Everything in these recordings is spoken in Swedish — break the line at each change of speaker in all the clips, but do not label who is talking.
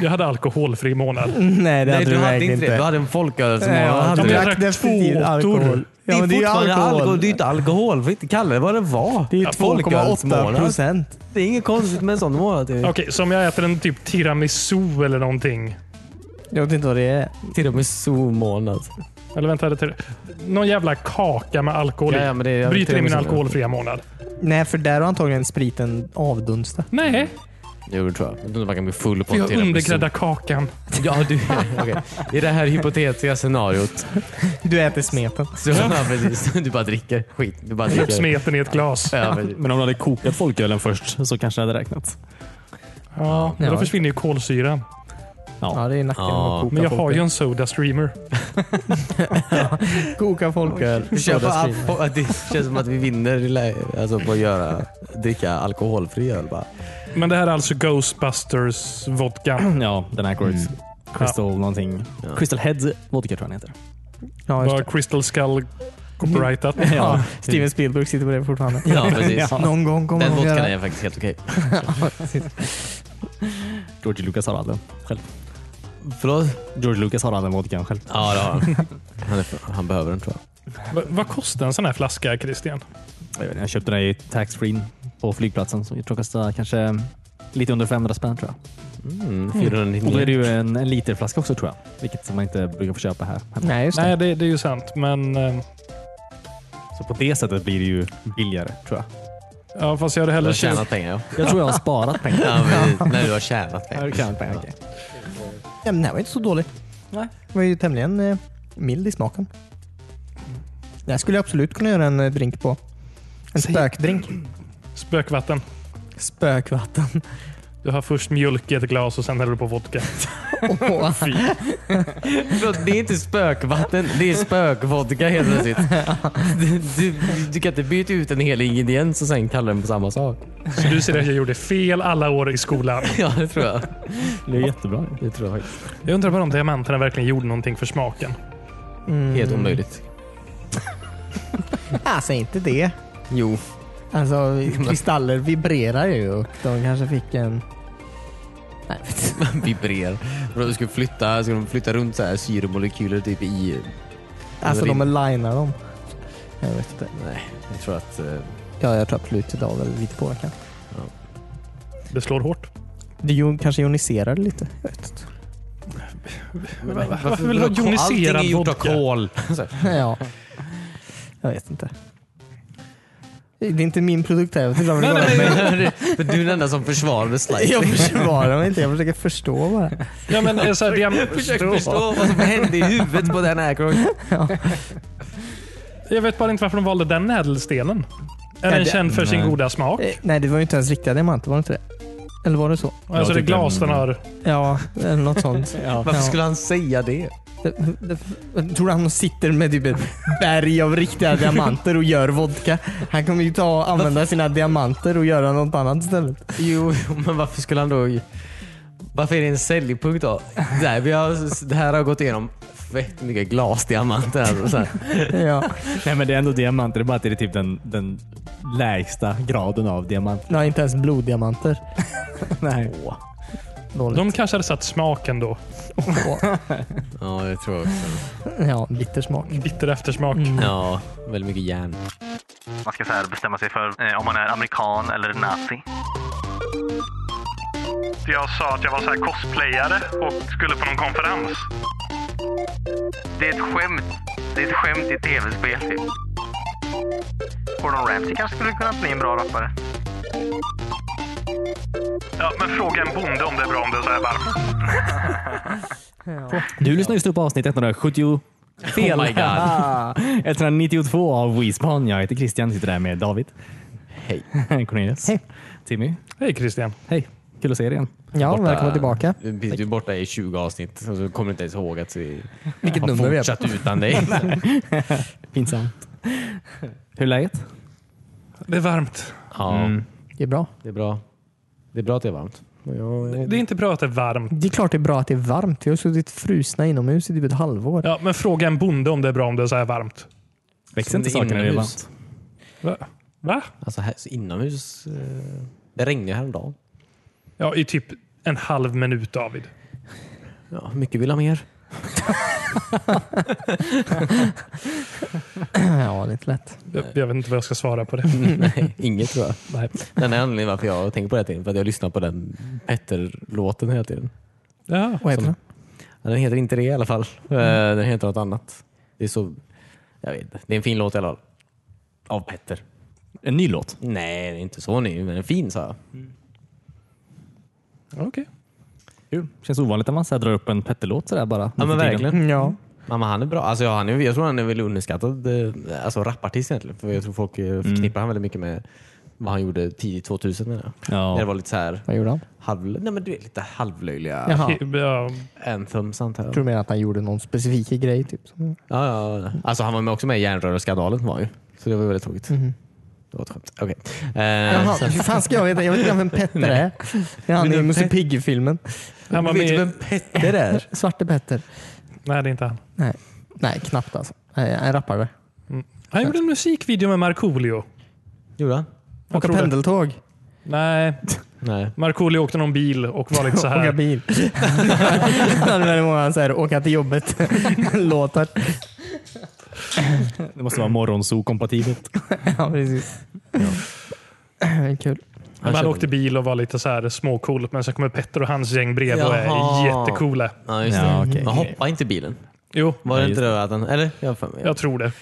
Jag hade alkoholfri månad.
Mm.
Nej, det
Nej,
hade
du
du
hade
verkligen
inte det. Du
inte.
hade en folköl som
Nej, jag
månad.
hade
Ja, men jag
drack
drack
definitivt
två
alkohol.
torr.
Ja, men det
det
är ju
fortfarande
alkohol.
Det är ju inte alkohol. Vi inte kalla det vad det var.
Det är ju
Ja, folkölsmånad.
2,8 procent.
Det är inget konstigt med en sån månad.
Okej,
ju.
så om jag äter en typ tiramisu eller någonting.
Jag vet inte vad det är.
Till och med solmånad.
Eller vänta, det är- någon jävla kaka med alkohol i.
Ja, ja, men det är-
Bryter in min
tiramisu.
alkoholfria månad.
Nej, för där har antagligen spriten avdunstat.
Nej,
Jo, det tror jag. Jag tror inte man kan bli full på
för
en
jag
Mm. tiramisu.
undergräddar kakan.
Ja, du, okej. I det här hypotetiska scenariot.
Du äter smeten.
Så, ja, precis. Du bara dricker skit. Du bara
Upp
dricker.
smeten i ett glas.
Ja, precis.
Men om du hade kokat folkölen först så kanske det hade räknats.
Ja, men då
Ja.
försvinner ju kolsyran.
Ja, det är nackdelen med
Ja.
att koka
Men jag
folköl.
har ju en soda streamer.
Koka folköl.
Vi kör på
Soda
allt
stream.
på, det känns som att vi vinner i lä- alltså på att göra, dricka alkoholfri öl. Bara.
Men det här är alltså Ghostbusters vodka.
Ja, den här kortet. Crystal någonting. Crystal Head Vodka tror jag den heter.
Ja, just
Bara
det.
Crystal Skull copyrightat.
Mm.
Ja, Steven Spielberg sitter på det fortfarande.
Ja, precis.
Ja.
Någon gång kommer
Den
han att
vodkan
göra
är faktiskt helt okej.
George Lucas har all den själv.
Förlåt?
George Lucas har all den vodkan själv.
Ja, det har han. Han, är, han behöver den tror jag.
Va- Vad kostar en sån här flaska, Christian?
Jag, vet inte, jag köpte den i taxfree på flygplatsen som jag tror kostar kanske lite under 500 spänn tror jag.
Mm,
Och då är det
499.
ju en, en literflaska också tror jag. Vilket man inte brukar få köpa här. hemma.
Nej, just det.
Nej, det, det är ju sant. Men eh,
Så på det sättet blir det ju billigare tror jag.
ja, fast jag hade
Du
hellre
har
köpt...
tjänat pengar ja.
Jag tror jag har sparat pengar.
ja men, nej, du har tjänat
Jag
pengar.
har tjänat pengar, okej.
Ja, men Den här var inte så dålig.
Nej.
Den var ju tämligen eh, mild i smaken. Det här skulle jag absolut kunna göra en eh, drink på. En
Säg-
spökdrink.
Spökvatten.
Spökvatten.
Du har först mjölk i ett glas och sen häller du på vodka.
Åh,
Förlåt, det är inte spökvatten, det är spökvodka helt plötsligt. Du, du, du kan inte byta ut en hel ingrediens och sen kalla den på samma sak.
Så du ser att jag gjorde fel alla år i skolan.
Ja, det tror jag.
Det är jättebra.
Det tror jag faktiskt.
Jag undrar bara om diamanterna verkligen gjorde någonting för smaken.
Mm.
Helt omöjligt.
Ah, säg inte det.
Jo.
Alltså, kristaller vibrerar ju och de kanske fick en... Nej, jag vet inte.
vibrerar. För de ska flytta, ska de flytta runt så här syremolekyler typ i...
Alltså de
Rim-
alignar dem. Jag vet inte.
Nej, jag tror att... eh,
Ja, jag tror absolut idag väl lite påverkan.
Det slår hårt.
Det jo, kanske joniserar det lite. Jag vet inte.
varför vill du ha
Allting är
joniserad
gjort av
vodka?
kol. Så här.
Ja. Jag vet inte. Det är inte min produkt här. Jag vet inte vad det
Nej,
var.
nej, nej.
Men du är den enda som försvarade slice.
Jag försvarar mig inte. Jag försöker förstå bara.
Ja, men, eh, så här, diam-
försöker förstå vad som hände i huvudet på den Aykroyd.
jag vet bara inte varför de valde den ädelstenen. Är
Ja,
den
det-
känd för sin
nej.
goda smak?
Eh, Nej, det var ju inte ens riktiga diamanter. Var det inte det? Eller var det så?
Alltså det är
tycker
glas den
den-
har.
Ja, eller något sånt.
Varför
Ja.
skulle han säga det?
Det- det- Tror du han sitter med typ ett berg av riktiga diamanter och gör vodka? Han kommer ju ta och använda sina diamanter och göra något annat istället.
Jo, men varför skulle han då... Varför är det en säljpunkt då? Det här, vi har, det här har gått igenom fett mycket glasdiamanter. Alltså, så här.
Ja.
Nej, men det är ändå diamanter. Det är bara att det är typ den, den lägsta graden av diamant.
Nej, inte ens bloddiamanter.
Nej.
Åh.
Dåligt.
De kanske hade satt smaken då.
Åh,
Ja, det tror jag också.
Ja, bittersmak.
Bitter eftersmak.
Ja, väldigt mycket järn.
man ska så här bestämma sig för eh, om man är amerikan eller nazi.
Jag sa att jag var så här cosplayare och skulle på någon konferens.
Det är ett skämt. Det är ett skämt i ett tv-spel typ. Gordon Ramsay kanske skulle kunna bli en bra rappare.
Ja, men fråga en bonde om det är bra om det är så här varmt.
Du lyssnar just nu på avsnitt 170. Fel.
Oh my god.
192 av WeSpan. Jag heter Christian. Sitter där med David.
Hej.
Cornelius.
Hej.
Timmy.
Hej Christian.
Hej. Kul att se er igen.
Ja,
Borta-
välkommen tillbaka.
Du du är borta i 20 avsnitt och så kommer du inte ens ihåg att vi
Vilket
har
nummer vi är på.
fortsatt utan dig.
Pinsamt. Hur är läget?
Det är varmt.
ja,
Det är bra.
det är bra. Det är bra att det är varmt.
Det är inte bra att det är varmt.
Det är klart det är bra att det är varmt. Vi har suttit frusna inomhus i typ ett halvår.
Ja, men fråga en bonde om det är bra om det är så här varmt.
Växer
Som
inte
det är
saker när det är
inomhus.
varmt?
Va? Va?
Alltså här, så inomhus. eh, Det regnade ju häromdagen.
Ja, i typ en halv minut David.
Ja, mycket vill ha mer.
Ja, det är inte lätt.
Jag, jag vet inte vad jag ska svara på det.
Nej, inget tror jag.
Nej.
Den enda anledningen varför jag tänker på det här tiden, för att jag lyssnar på den Petter-låten hela tiden.
Ja.
Vad heter
Som-
den?
Ja, Den heter inte det i alla fall. Eh, Den heter något annat. Det är så... Jag vet inte. Det är en fin låt i alla fall. Av Petter.
En ny låt.
Nej, det är inte så ny, men den är fin sa jag.
Okej.
Kul. Känns ovanligt att man så här drar upp en Petter-låt sådär bara.
Ja men verkligen.
Mm, Ja.
Ja, men han är bra. Alltså, ja, han är, jag tror han är väl underskattad eh, alltså, rapartist egentligen. För jag tror folk eh, förknippar han väldigt mycket med vad han gjorde tidigt 2000 menar jag.
Ja.
Det var lite så här
Vad gjorde han?
halv, nej, men du vet, lite halvlöjliga
Jaha.
He- Ja.
anthems antar
Jag
jag.
tror mer att han gjorde någon specifik grej. Typ. som-
Ja, ja, ja. Alltså, han var med också med i Järnrörsskandalen var han ju. Så det var väldigt tråkigt. Det var ett skämt. Okej. Eh,
Jaha,
sen-
hur fan ska jag veta? Jag vet inte vem Petter är. Det är han i Musse Pigg-filmen.
Han var
vet
med
du
i-
vem Petter är?
Svarte Petter.
Nej, det är inte han.
Nej, Nej knappt alltså. Nej, En rappare.
Han gjorde en musikvideo med Markoolio.
Gjorde han?
Jag
Åka
tror det.
pendeltåg.
Nej,
Nej.
Markoolio åkte någon bil och var lite så här.
Åka bil. Han hade väldigt många så här, åka till jobbet-låtar.
Det måste vara morgonzoo-kompatibelt.
Ja, precis. Kul.
Han,
körde
åkte bil och var lite så här småcool, men sen kommer Petter och hans gäng bredvid och är
Jaha.
jättecoola.
Ja, just det.
Ja, okej.
Men hoppa inte i bilen.
Jo,
Var
Ja,
det
just
inte det att han... Eller? Jag har för mig.
jag tror det.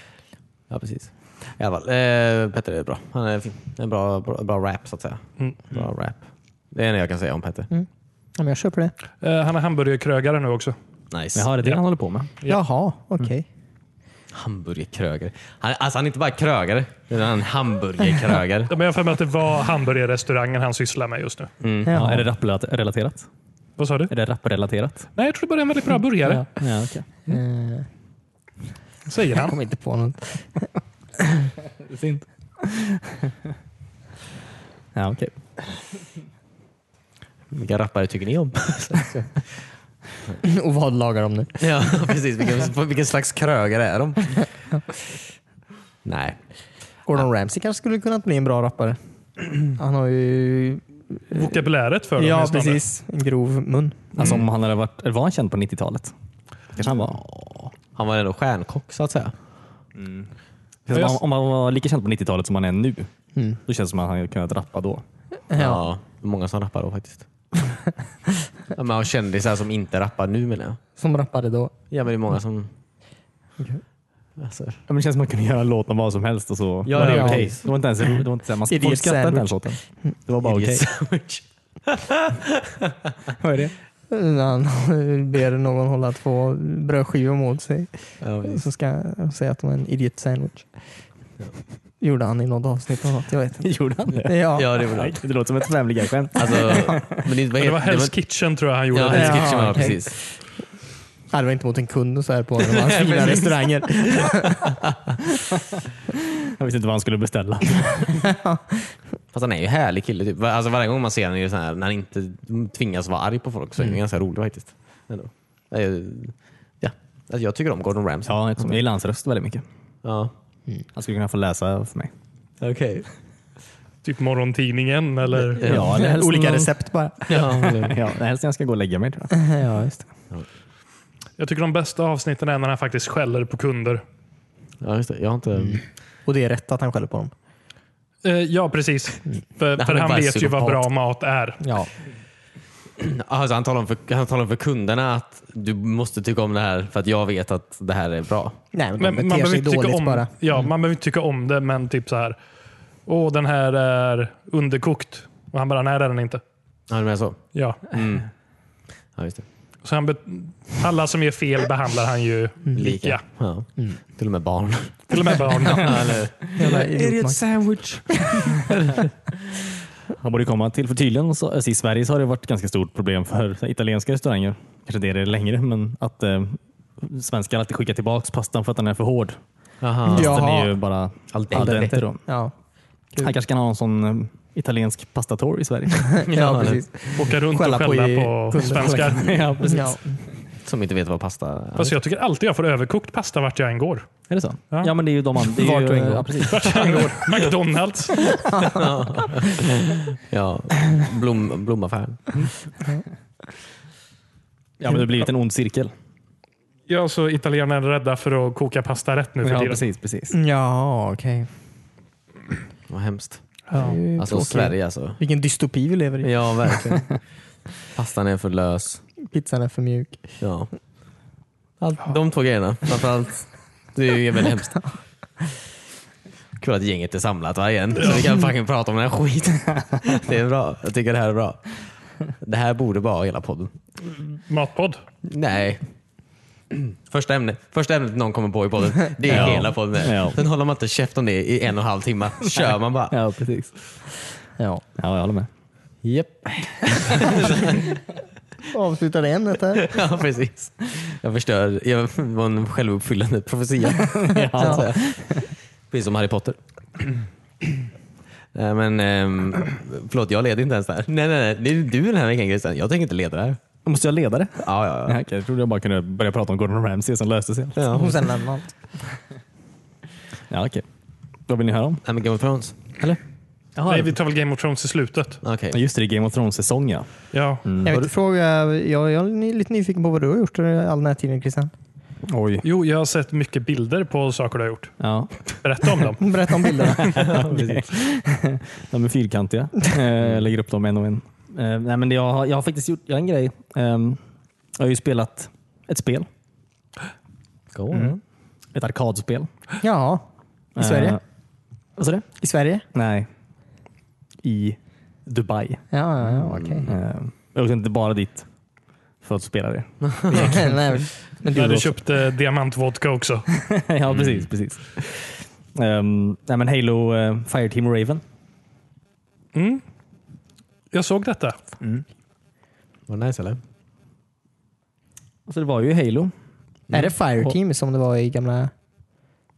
Ja, precis. I alla fall. Eh, Petter är bra. Han är fin. En bra, bra, bra rap, så att säga.
Mm.
Bra rap. Det är det jag kan säga om Petter.
Ja, men jag köper det.
Eh, han är hamburgerkrögare nu också.
Nice.
Jaha, det är det han håller på med.
Jaha, okej.
Hamburgerkrögare. Han, alltså, han är inte bara krögare, utan han är hamburgerkrögare.
Ja, men Jag har för mig att det var hamburgerrestaurangen han sysslar med just nu.
Ja.
Ja. Är det rapprelaterat?
Vad sa du?
Är det rapprelaterat?
Nej, jag tror det var en väldigt bra burgare,
Ja, okej.
Eh,
säger
jag
han.
kom inte på något.
Fint. Ja, okej.
Vilka rappare tycker ni om?
Och vad lagar de nu?
ja, precis. Vilken, vilken slags krögare är de? Nej.
Gordon Ramsay kanske skulle kunna bli en bra rappare. Han har ju...
Vokabuläret för dem
Ja,
åtminstone.
precis. En grov mun.
Alltså om han hade varit, eller var han känd på 90-talet? Kanske han var.
Han var ändå stjärnkock, så att säga.
Känns som
jag-
om- om han var lika känd på 90-talet som han är nu, då känns det som att han hade kunnat rappa då.
Ja. det är många som rappar då faktiskt. ja, men av kändisar som inte rappar nu menar jag.
Som rappade då.
Ja, men det är många som... Alltså,
Ja, men det känns som att man kunde göra en låt om vad som helst och så
Ja,
var det
ja.
okej. Det var inte ens, det var inte så här, man
Idiot
folk skrattade inte
sandwich.
ens åt den. Det var bara okej.
sandwich.
Vad är det?
Han ber någon hålla två brödskivor mot sig.
Ja, precis.
Så ska jag säga att de är en idiot sandwich. Gjorde han i något avsnitt av något? Jag vet inte.
Gjorde han det?
Ja.
ja, det var
Nej,
det.
Det låter som ett Family Guy-skämt.
Alltså, men det, vad
Men
heter-
det var Hell's Kitchen tror jag han gjorde.
Ja,
det.
Hell's Kitchen.
Jaha,
Ja,
okej.
precis.
Nej, det var inte mot en kund och så här på en av hans fina restauranger.
Jag visste inte vad han skulle beställa.
Fast han är ju en härlig kille. Typ. Alltså, varje gång man ser honom är det så här, när han inte tvingas vara arg på folk så är han ganska rolig faktiskt. Ändå. Eh, Ja. Alltså, jag tycker om Gordon Ramsay.
Ja, jag gillar hans röst väldigt mycket.
Ja.
Han skulle kunna få läsa för mig.
Okej.
Typ morgontidningen eller...
Ja, eller helst
Olika
någon-
recept bara.
Ja, helst när jag ska gå och lägga mig tror jag.
Ja, just det.
Jag tycker de bästa avsnitten är när han faktiskt skäller på kunder.
Ja, just det. Jag har inte...
Och det är rätt att han skäller på dem.
Eh, ja, precis. För,
Han
för
är
han
bara
vet ju vad
psykopat.
bra mat är.
Ja.
Alltså, han, talar om för, han talar om för kunderna att du måste tycka om det här för att jag vet att det här är bra.
Nej, men de
Men man
beter
behöver
sig
inte tycka
dåligt
om,
bara. Mm.
Ja, man behöver inte tycka om det, men typ så här. Åh, den här är underkokt. Och han bara, nej det är den inte.
Ja, du menar så?
Ja.
Ja, just det.
Så han be- alla som gör fel behandlar han ju lika.
Ja. Till och med barn.
Till och med barn.
Jävla idiotmark.
sandwich.
Han borde komma till, för tydligen så, alltså i Sverige så har det varit ganska stort problem för så här, italienska restauranger, kanske det är det längre, men att eh, svenskar alltid skickar tillbaka pastan för att den är för hård.
Jaha.
Den är ju
Jaha.
bara al
Allt
dente.
dente.
då.
Ja.
Han kanske kan ha någon sån eh, italiensk pastator i Sverige.
ja, precis.
Åka runt
Skälla
och
på
skälla
i-
på,
kunder.
svenskar.
ja, precis.
Ja.
Som inte vet vad pasta är.
Fast jag tycker alltid jag får överkokt pasta vart jag än går.
Är det så?
Ja.
Ja. men det är ju de andra.
Vart du än går.
ja, precis.
Vart jag än går. McDonalds.
Ja, blom, blomaffären.
Ja, men det har blivit en ond cirkel.
Ja, så italienarna är alltså rädda för att koka pasta rätt nu för
Ja,
tiden.
precis,
Mm.
precis.
Ja, okej.
Vad hemskt.
Ja.
Det är ju
Alltså
tråkigt.
Sverige alltså.
Vilken dystopi vi lever i.
Ja, verkligen. Pastan är för lös.
Pizzan är för mjuk.
Ja. Allt, de två grejerna framförallt. Det är ju väldigt hemskt. Kul att gänget är samlat va, igen. Så vi kan fucking prata om den här skiten. Det är bra. Jag tycker det här är bra. Det här borde vara hela podden.
Matpodd.
Nej. Första ämnet, första ämnet någon kommer på i podden, det är
Ja.
hela podden.
Ja.
Sen håller man inte käft om det i en och en halv timme. Kör man bara.
Ja, precis.
Ja.
Ja, jag håller med.
Japp.
Avsluta det ämnet här.
Ja, precis. Jag förstör. Jag var en självuppfyllande profetia. så att säga. Precis som Harry Potter. Nej, men, ehm, förlåt, jag leder inte ens det här. Nej, nej, nej. Det är du den här veckan Christian. Jag tänker inte leda det här.
Måste jag leda det?
Ja, ja, ja.
Ja, okej, jag trodde jag bara kunde börja prata om Gordon Ramsay, sen löste sig allt.
Och sen lämna
Ja, okej. Vad vill ni höra om?
Nej, men Game of Thrones. Eller?
Nej, vi tar väl Game of Thrones i slutet.
Okej.
Ja, Just det, det är Game of Thrones-säsong ja.
Ja.
Mm.
Jag vill fråga, jag, jag är ni- lite nyfiken på vad du har gjort all den här tiden Christian.
Oj.
Jo, jag har sett mycket bilder på saker du har gjort.
Ja,
Berätta om dem.
Berätta om bilderna.
de är fyrkantiga. Eh, Jag lägger upp dem en och en. Eh, Nej, men det jag, har, jag har faktiskt gjort jag har en grej. Ehm, Jag har ju spelat ett spel.
Go on.
Ett arkadspel.
Mm. ja, i Sverige?
Eh, Vad sa du?
I Sverige?
Nej. I Dubai.
Ja, ja,
Mm.
ja okej.
Eh, Jag åkte inte bara dit för att spela det.
Nej, men
När
du
du
då?
köpte diamantvodka också.
ja,
Mm.
precis. precis. Ehm, nej, men Halo eh, Fireteam Raven.
Mm. Jag såg detta.
Var det nice eller?
Alltså, det var ju Halo.
Är det
Mm.
Fireteam som det var i gamla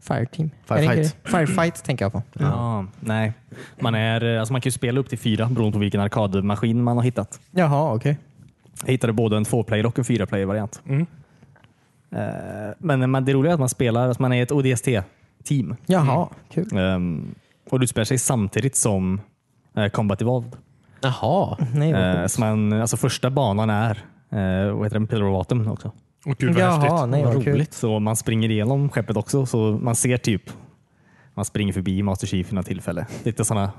Fireteam? Är det inte
Firefight.
det? Firefight tänker jag på.
Ja, nej. Man, är, eh, alltså man kan ju spela upp till fyra beroende på vilken arkadmaskin man har hittat.
Jaha, okej.
Jag hittade både en tvåplayer och en fyra-player-variant.
Mm.
Eh, men man, det roliga är att man spelar, alltså man är ett ODST-team.
Jaha,
Mm.
kul.
Ehm, och du spelar sig samtidigt som eh, Combat Evolved.
Jaha.
Nej, vad
Eh,
coolt.
så man, alltså första banan är eh, vad heter den? Pillar of Autumn också.
Och gud vad
Jaha,
häftigt.
nej vad kul.
Så man springer igenom skeppet också, så man ser typ man springer förbi Master Chief i något tillfälle. Lite sådana.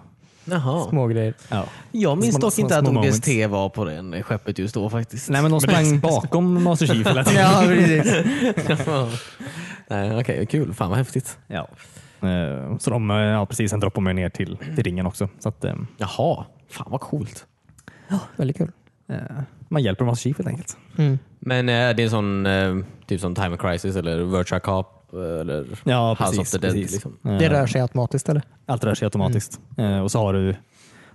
Jaha.
Små grejer.
Ja.
Jag minns
Små-
dock
små-
inte att
små
ODST var på den skeppet just då faktiskt.
Nej, men de sprang bakom Master Chief hela tiden.
Ja, precis.
Nej, Okej, kul. Fan vad häftigt.
Ja. Eh, Så de, eh, ja, precis, sen droppar man ner till, till ringen också. Så att, eh,
Jaha. Fan vad coolt.
Väldigt kul.
eh, man hjälper Master Chief helt enkelt.
Men eh, det är en sån eh, typ som Time of Crisis eller Virtua Cop eh, eller
Ja,
House of
precis,
the Dead.
precis. Eh,
Liksom.
Det rör sig automatiskt eller?
Allt rör sig automatiskt. Eh, Och så har du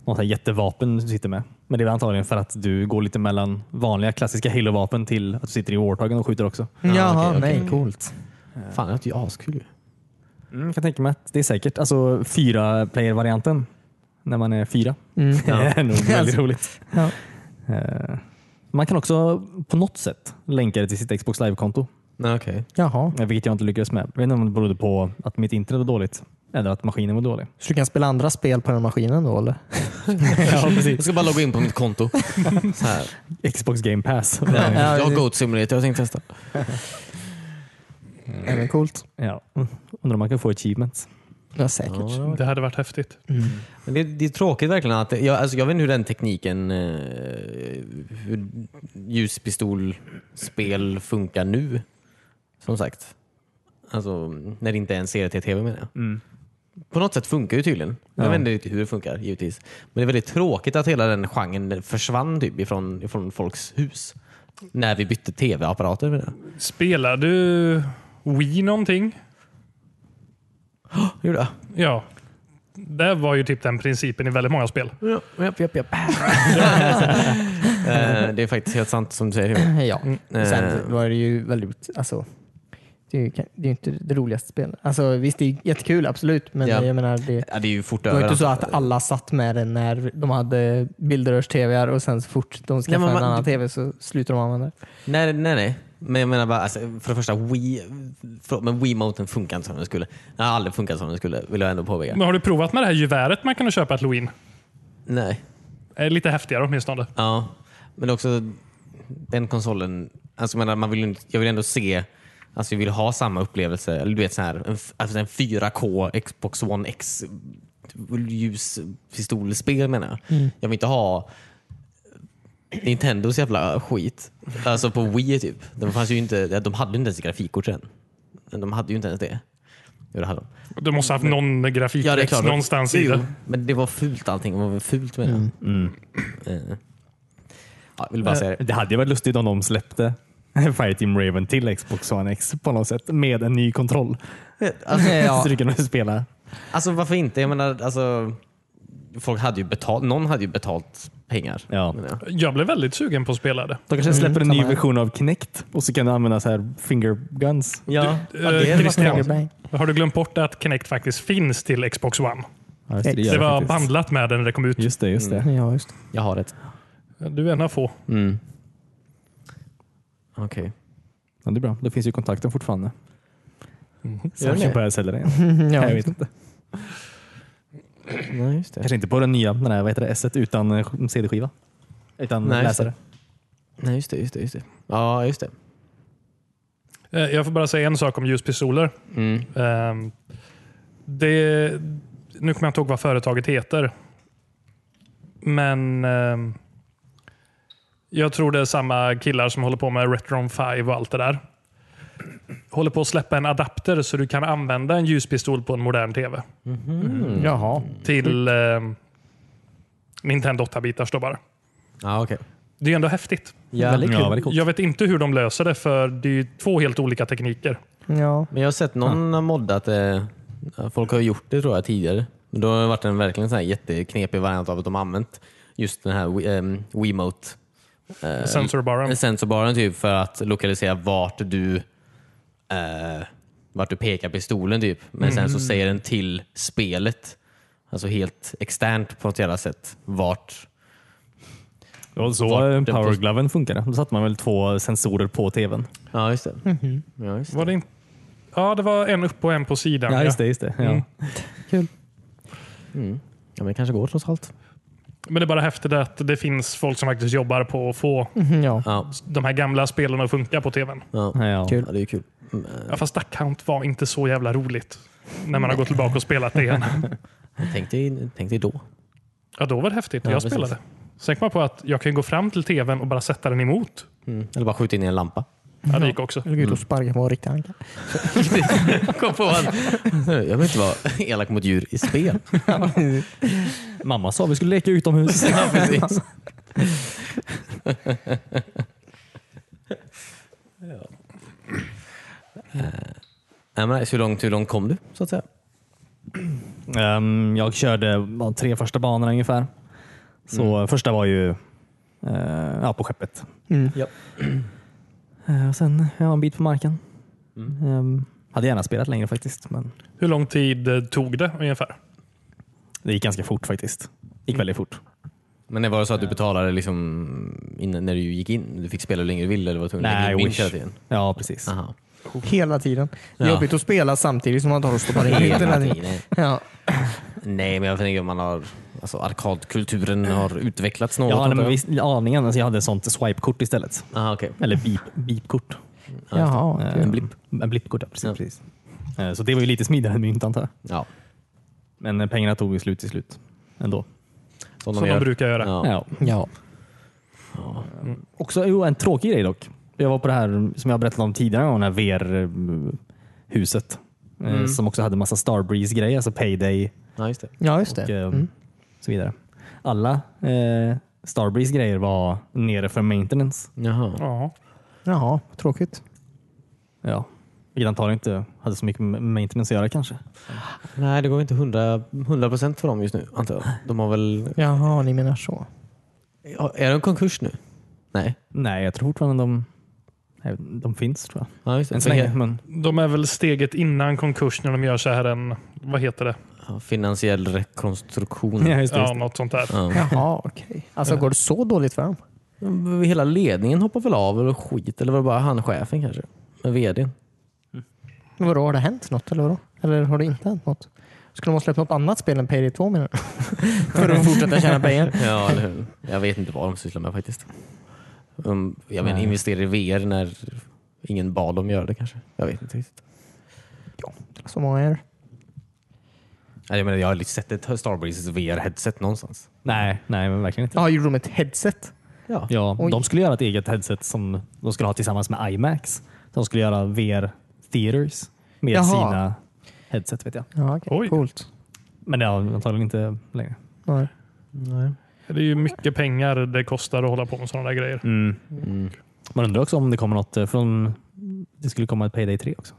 något här jättevapen du sitter med. Men det är väl antagligen för att du går lite mellan vanliga klassiska Halo-vapen till att du sitter i Warthagen och skjuter också.
Jaha,
okej,
nej.
okej.
Coolt.
Fan, det låter ju askul. ju.
Jag kan tänka mig att det är säkert. Alltså fyra player-varianten när man är fyra.
Mm.
Det är nog väldigt
Alltså.
roligt.
Ja.
Eh, Man kan också på något sätt länka det till sitt Xbox Live-konto.
Nej, okej.
Jaha,
Eh, Vilket jag inte lyckades med. Jag vet inte om det berodde på att mitt internet var dåligt eller att maskinen var dålig.
så du kan spela andra spel på den maskinen då eller?
ja,
Jag ska bara logga in på mitt konto. Så här.
Xbox Game Pass.
Jag har Goat Simulator jag tänkte testa. Mm.
Nej, men coolt.
ja. Undrar om man kan få achievements.
Ja, säkert.
Det hade varit häftigt.
Men det, det är tråkigt verkligen att, det- jag, alltså, jag vet inte hur den tekniken, eh, hur ljuspistolspel funkar nu. Som sagt. Alltså när det inte är en CRT-TV menar jag.
Mm.
På något sätt funkar ju tydligen. Jag
Ja.
vet inte riktigt hur det funkar givetvis. Men det är väldigt tråkigt att hela den genren försvann typ ifrån, ifrån folks hus. När vi bytte TV-apparater menar jag.
Spelar du Wii någonting?
Gjorde jag?
Ja. Det var ju typ den principen i väldigt många spel.
Ja, japp, japp, japp. Eh, det är faktiskt helt sant som du säger. Johan.
Ja,
Eh.
sen var det ju väldigt, alltså det är ju det är ju inte det roligaste spelet. Alltså, visst, det är jättekul, absolut, men
Ja.
jag menar, det,
Ja, det är ju fort
det var ju inte
överallt.
så att alla satt med den när de hade bildrörs-tvr och sen så fort de skaffade
man-
en annan tv så slutade de använda det.
Nej, nej, nej. Men jag menar bara, alltså, för det första, Wii, förlåt, men Wiimoten funkar inte som den skulle. Den har aldrig funkat som den skulle, vill jag ändå påpeka.
Men har du provat med det här geväret man kunde köpa ett Halloween?
Nej.
Eh, Lite häftigare åtminstone.
Ja. Men också, den konsolen, alltså jag menar, man vill, ju inte- jag vill ändå se, alltså jag vill ha samma upplevelse. Eller du vet så här, en, f- alltså en 4K Xbox One X ljuspistolspel menar jag. Jag vill inte ha Nintendos jävla skit. Alltså på Wii typ. De, fanns ju inte, de hade ju inte ens grafikkort än. De hade ju inte ens det. Jo, det hade de.
Du måste ha haft någon
Ja, det är
grafikväxt
klart.
någonstans i
Jo,
det.
Men det var fult allting. Det var väl fult med det. Eh. Ja, jag vill bara säga det.
Det hade ju varit lustigt om de släppte Fireteam Raven till Xbox One X på något sätt med en ny kontroll.
Alltså,
Ja.
Så du kan spela.
alltså varför inte? Jag menar, alltså, folk hade ju betalt, någon hade ju betalt pengar.
Ja.
menar jag.
Jag blev väldigt sugen på att spela det.
De kanske släpper en
Mm,
ny
samma här.
version av Kinect och så kan du använda så här finger guns.
Du,
Ja, ja,
eh,
det hade varit
Christian.
kul.
Har du glömt bort att Kinect faktiskt finns till Xbox One?
Ja, just
Det
gör
Det var
faktiskt.
bandlat med den när det kom ut.
Just det, just det.
Ja, just det.
Jag har ett.
Du är en av få.
Mm. Okej.
Ja, det är bra. Då finns ju kontakten fortfarande. Så
Gör
Mm-hmm. jag kan
det?
börja sälja den.
Ja,
jag
just
vet inte.
Nej, just det.
Kanske inte på den nya, den här, vad heter det, S utan eh, CD-skiva. Utan
Nej, just
läsare.
Nej, just det, just det, just det. Ja, just det.
Eh, Jag får bara säga en sak om ljuspistoler.
Mm.
Ehm, det, nu kommer jag inte ihåg vad företaget heter. Men ehm, jag tror det är samma killar som håller på med Retron 5 och allt det där. Håller på att släppa en adapter så du kan använda en ljuspistol på en modern TV.
Jaha.
Till ehm, Nintendo 8-bitars då bara.
Ja, okej.
Det är ändå häftigt.
Ja,
Väldigt kul. Ja, väldigt coolt.
Jag vet inte hur de löser det för det är ju två helt olika tekniker.
Ja.
Men jag har sett någon har moddat det. Folk har gjort det tror jag tidigare. Men då har det varit en verkligen så här jätteknepig variant av att de har använt just den här Wii- ehm, Wiimote eh,
Sensorbaren.
sensorbaren typ för att lokalisera vart du eh, vart du pekar pistolen typ. Men sen så säger den till spelet, alltså helt externt på något jävla sätt, vart
Och
Vart
så
den
eh,
på-
powergloven funkade. Då satte man väl två sensorer på tvn.
Ja, just det. Ja, just det.
Var det in- ja, det var en upp och en på sidan.
Ja,
ja.
just det. Just det. Ja.
Mm.
Ja, men det kanske går trots allt.
Men det är bara häftigt att det finns folk som faktiskt jobbar på att få
Ja.
Ja,
de här gamla spelen att funka på tvn.
ja.
Ja.
ja det är ju kul. Mm, eh,
Ja, fast Duck Hunt var inte så jävla roligt när man har gått tillbaka och spelat det igen.
Tänk dig, tänk dig då.
Ja, då var det häftigt när
Ja,
jag
precis.
spelade. Sen kom jag på att jag kan gå fram till tvn och bara sätta den emot.
Eller bara skjuta in i en lampa.
Ja, det gick också.
Eller
Mm.
gud, och sparka på en riktig anka.
Kom på att jag vill inte vara elak mot djur i spel.
Mamma sa vi skulle leka utomhus.
Ja, precis. ja. men Eh, hur, långt, hur långt kom du? Så att säga?
Ehm, jag körde de tre första banorna ungefär. Så första var ju eh, ja, på skeppet.
Mm.
Ja.
Eh, och sen ja, en bit på marken. Ehm, hade gärna spelat längre faktiskt, men
Hur lång tid eh, tog det ungefär?
det gick ganska fort faktiskt. gick väldigt fort.
Men det var så att du betalade liksom innan, när du gick in? Du fick spela hur länge du ville? Eller var du tvungen att
Nej,
lägga in
wish.
hela tiden?
Ja, precis.
Aha.
Hela tiden.
Ja.
Jobbigt att spela samtidigt som man tar och stoppar in
Hela
internet.
tiden.
Ja.
Nej, men jag tänker att man har, alltså, arkadkulturen har utvecklats något.
Jag hade
antar jag.
med viss, aningen, alltså jag hade ett sånt swipe-kort istället.
Aha, okej.
Eller beep- beep-kort.
Jaha.
Eh,
okej.
en blipp. En blippkort, ja. Precis.
Ja.
precis. Eh, Så det var ju lite smidigare än mynt antar jag.
Ja,
Men eh, pengarna tog ju slut till slut ändå.
som
Som de brukar göra.
Ja.
Ja.
Ja.
Också jo, en tråkig grej dock. Jag var på det här som jag berättade om tidigare, om det här VR-huset.
Mm.
Som också hade massa Starbreeze-grejer, alltså Payday
ja, just det.
Ja, just
och
det.
eh,
Mm.
så vidare. Alla eh, Starbreeze-grejer var nere för maintenance.
Jaha.
Ja.
Jaha, tråkigt.
Ja. Vilket antagligen inte hade så mycket med maintenance att göra kanske.
Nej, det går inte 100 procent för dem just nu, antar jag. De har väl...
Jaha, ni menar så.
Ja, Är de konkurs nu? Nej.
Nej, jag tror fortfarande de, nej, de finns tror jag.
Ja, just det.
Än så länge. Men,
De är väl steget innan konkurs när de gör så här en, vad heter det?
Ja, finansiell rekonstruktion.
ja, just det,
Ja,
just det.
något sånt där.
Ja.
Jaha, okej. Alltså går det så dåligt för dem?
Hela ledningen hoppar väl av eller skit, eller var det bara han chefen kanske? Med vdn?
Vadå, har det hänt något eller vadå? Eller har det inte hänt något? Skulle de ha släppt något annat spel än Payday 2 menar du? För att fortsätta tjäna pengar?
Ja, eller hur? Jag vet inte vad de sysslar med faktiskt. Um, jag menar,
Nej.
investera i VR när ingen bad dem göra det kanske. Jag vet inte riktigt.
Så många är det.
Nej, Jag, menar, jag har aldrig sett ett Starbreezes VR-headset någonstans.
Nej, nej men verkligen inte.
Ja, gjorde de ett headset?
Ja.
Ja,
Oj.
de skulle göra ett eget headset som de skulle ha tillsammans med IMAX. De skulle göra VR Theaters med
Jaha.
sina headset vet jag.
Ja, okej.
Oj.
Coolt.
Men det har de antagligen inte längre.
Nej.
Det är ju mycket pengar det kostar att hålla på med sådana där grejer.
Mm. Man undrar också om det kommer något eh, från... Det skulle komma ett Payday 3 också.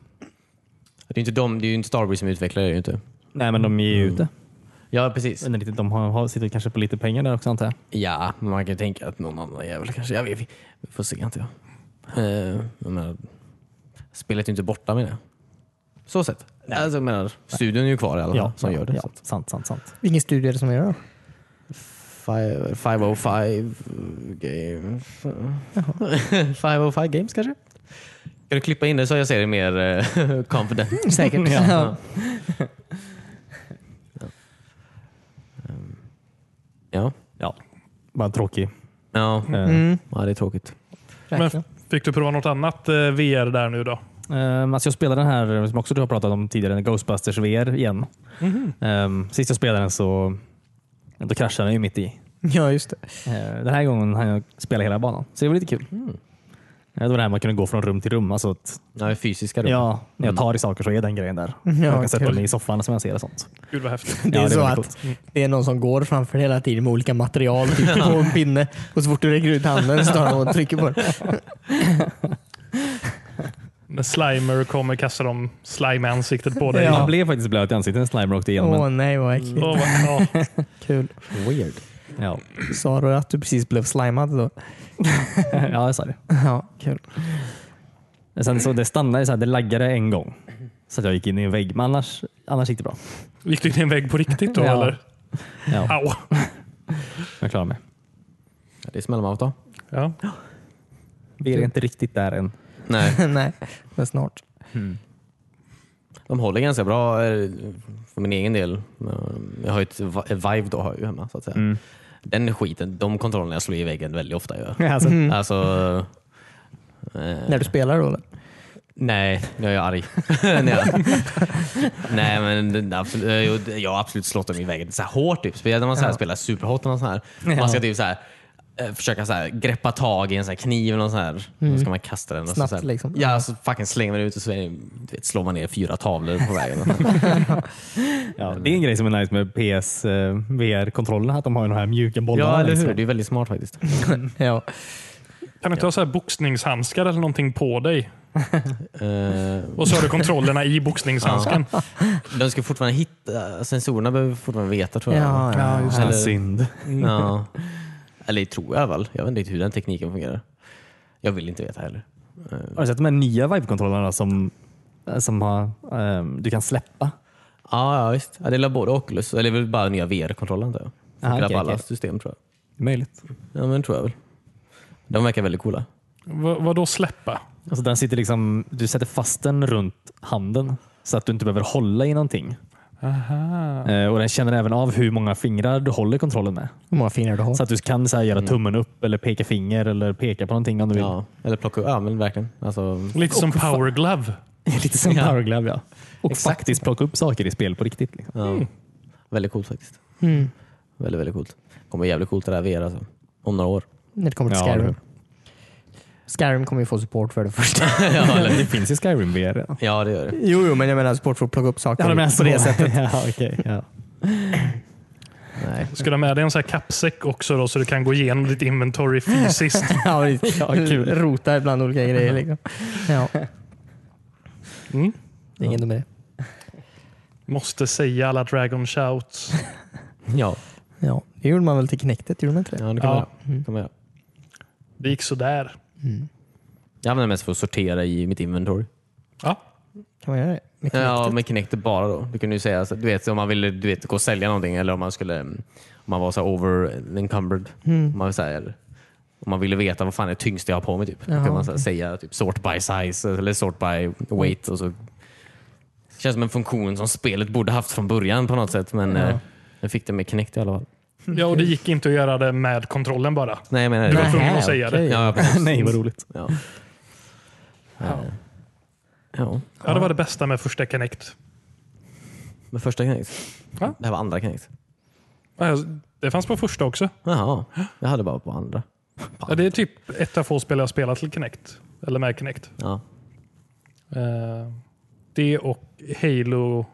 Det är ju inte, de, det är ju inte Starbreeze som utvecklar det. det är ju Inte.
Nej, men de är ju ute.
Ja, precis.
Mm. Undrar lite, de har, har, sitter kanske på lite pengar där också antar jag.
Ja, men man kan ju tänka att någon annan jävel kanske. Jag vet vi får se, inte jag. Eh, jag menar, spelet är ju inte borta menar jag. Så sett. Alltså, jag menar, studion är ju kvar i alla fall som gör det.
Ja,
Så att
sant, sant, sant.
Vilken studie är det som gör det?
Five- 505 games. 505 games kanske? Kan du klippa in det så jag ser det mer eh, confident?
då? Säkert.
Ja.
ja.
Ja.
Ja, bara tråkig.
Ja.
Eh,
Mm,
ja, det är tråkigt.
Men
verkligen.
fick du prova något annat eh, VR där nu då?
Eh.
Ehm, alltså jag spelade den här som också du har pratat om tidigare, Ghostbusters VR igen.
Mhm.
Ehm, sist jag spelade den så då kraschade den ju mitt i.
Ja, just det.
Ehm, den här gången hann jag spela hela banan, så det var lite kul.
Mm.
Ja, Det var det här man kunde gå från rum till rum. Alltså att,
Ja, fysiska då.
ja, när jag tar i saker så är den grejen där.
Mm. Ja,
jag kan sätta
kul.
mig i soffan som jag ser och sånt.
Gud vad häftigt.
Det är
Ja, det
så
var
att
coolt.
det är någon som går framför hela tiden med olika material typ, på en pinne och så fort du räcker ut handen står de och trycker på den.
När Slimer kommer kastar de slime i ansiktet på dig.
Ja. Han blev faktiskt blöt i ansiktet när Slimer åkte igenom
Åh
en.
nej vad äckligt.
Åh, vad- ja.
Kul.
Weird.
Ja.
Sa du att du precis blev slimad då?
ja, jag sa det.
Ja, kul.
Sen så det stannade, så här, det laggade en gång. Så att jag gick in i en vägg, men annars, annars gick det bra.
Gick du in i en vägg på riktigt då
Ja.
eller?
Ja,
Au.
jag klarade mig.
Ja, det smäller man av då.
Ja.
Vi är inte riktigt där än.
Nej.
nej, men snart.
De håller ganska bra eh, för min egen del. Eh, Jag har ju ett Vi- eh, Vive då har jag ju hemma så att säga.
Mm.
Den skiten, de kontrollerna jag slår i väggen väldigt ofta. Jag.
Alltså,
Alltså, eh,
Mhm. Mm. När du spelar då? eller?
nej, nu är jag arg. Nej, jag- nej men den- absolut, eh, jo, det- jag har absolut slått dem i väggen så här hårt. Typ. Speciellt när man så här, spelar superhot och något sånt här. Man ska typ så här, eh, försöka så här, greppa tag i en så här kniv eller något sånt här. Då ska man kasta den. Och
Mm. Snabbt
så, så här,
liksom.
Ja, så fucking slänger man ut och så är det- du vet, slår man ner fyra tavlor på vägen.
ja, det är en grej som är nice med PS eh, VR-kontrollerna, att de har ju de här mjuka bollarna. liksom.
Ja, eller
längst
hur?
fram.
Det är väldigt smart faktiskt.
Ja.
Kan du inte ha så här boxningshandskar eller någonting på dig?
Eh,
Och så har du kontrollerna i boxningshandsken.
de ska fortfarande hitta, sensorerna behöver fortfarande veta tror jag.
Ja, ja.
Ja,
Eller-
Ah, synd.
Ja. Eller tror jag väl. Jag vet inte hur den tekniken fungerar. Jag vill inte veta heller.
Har du sett de här nya Vive-kontrollerna som, eh, som har, ehm, du kan släppa?
Ja, ja visst. Ja, det är väl både Oculus, eller det är väl bara nya VR-kontrollen antar jag.
Aha,
Funkar
okej,
på alla
okej.
system tror jag.
Möjligt.
Ja, men tror jag väl. De verkar väldigt coola.
Va, vad då släppa?
Alltså, den sitter liksom, du sätter fast den runt handen så att du inte behöver hålla i någonting.
Aha.
Eh, och Den känner även av hur många fingrar du håller kontrollen med.
Hur många fingrar du har.
Så att du kan så här, göra tummen upp eller peka finger eller peka på någonting om du vill.
Ja, eller plocka Ja, men verkligen. Alltså,
Lite som power glove.
Lite som
Ja.
Power Glove, ja. Och
Exakt.
faktiskt plocka upp saker i spel på riktigt. Liksom.
ja. Väldigt coolt faktiskt.
Mm.
Väldigt, väldigt coolt. kommer jävligt coolt det där VR alltså. Om några år.
När det kommer till
Ja,
Skyrim.
det-
Skyrim kommer ju få support för det första.
det finns ju Skyrim VR redan.
Ja, det gör det.
jo, jo, men jag menar support för att plocka upp saker på det sättet.
ja, okej, ja.
Nej.
Ska du ha med dig en sån här kappsäck också då, så du kan gå igenom ditt inventory fysiskt?
ja, visst.
Ja, kul.
Rota bland olika grejer. Liksom. Ja.
Mm.
Det är ingen dum idé.
Måste säga alla Dragon Shouts.
Ja,
Ja, det gjorde man väl till knektet, gjorde man inte det?
ja det kan man
Ja.
göra. Det kan man göra.
Det gick sådär.
Jag använder det mest för att sortera i mitt inventory.
Ja.
Kan man göra det? Med
Ja,
Kinectet?
med Kinect bara då. Du kunde ju säga, så- du vet, om man ville du vet, gå och sälja någonting eller om man skulle mm, om man var så här over encumbered.
Mm.
Om, man, så här, om man ville veta vad fan är det tyngsta jag har på mig. Typ. Då
Jaha,
kunde man så här, säga typ, sort by size eller sort by weight. Och så. Det känns som en funktion som spelet borde haft från början på något sätt. Men eh, jag fick det med Kinect i alla fall.
Ja, och det gick inte att göra det med kontrollen bara.
Nej, jag menar
Du var
det.
Nej,
tvungen att säga det.
okej.
Ja, precis.
Nej, vad roligt.
Ja. Ja. ja.
Ja, det var det bästa med första Connect.
Men första Connect?
Va?
Det här var andra Connect.
Ja, Det fanns på första också.
Jaha, jag hade bara på andra.
Ja, det är typ ett av få spel jag har spelat till Connect. Eller med Connect.
Ja.
Eh, Det och Halo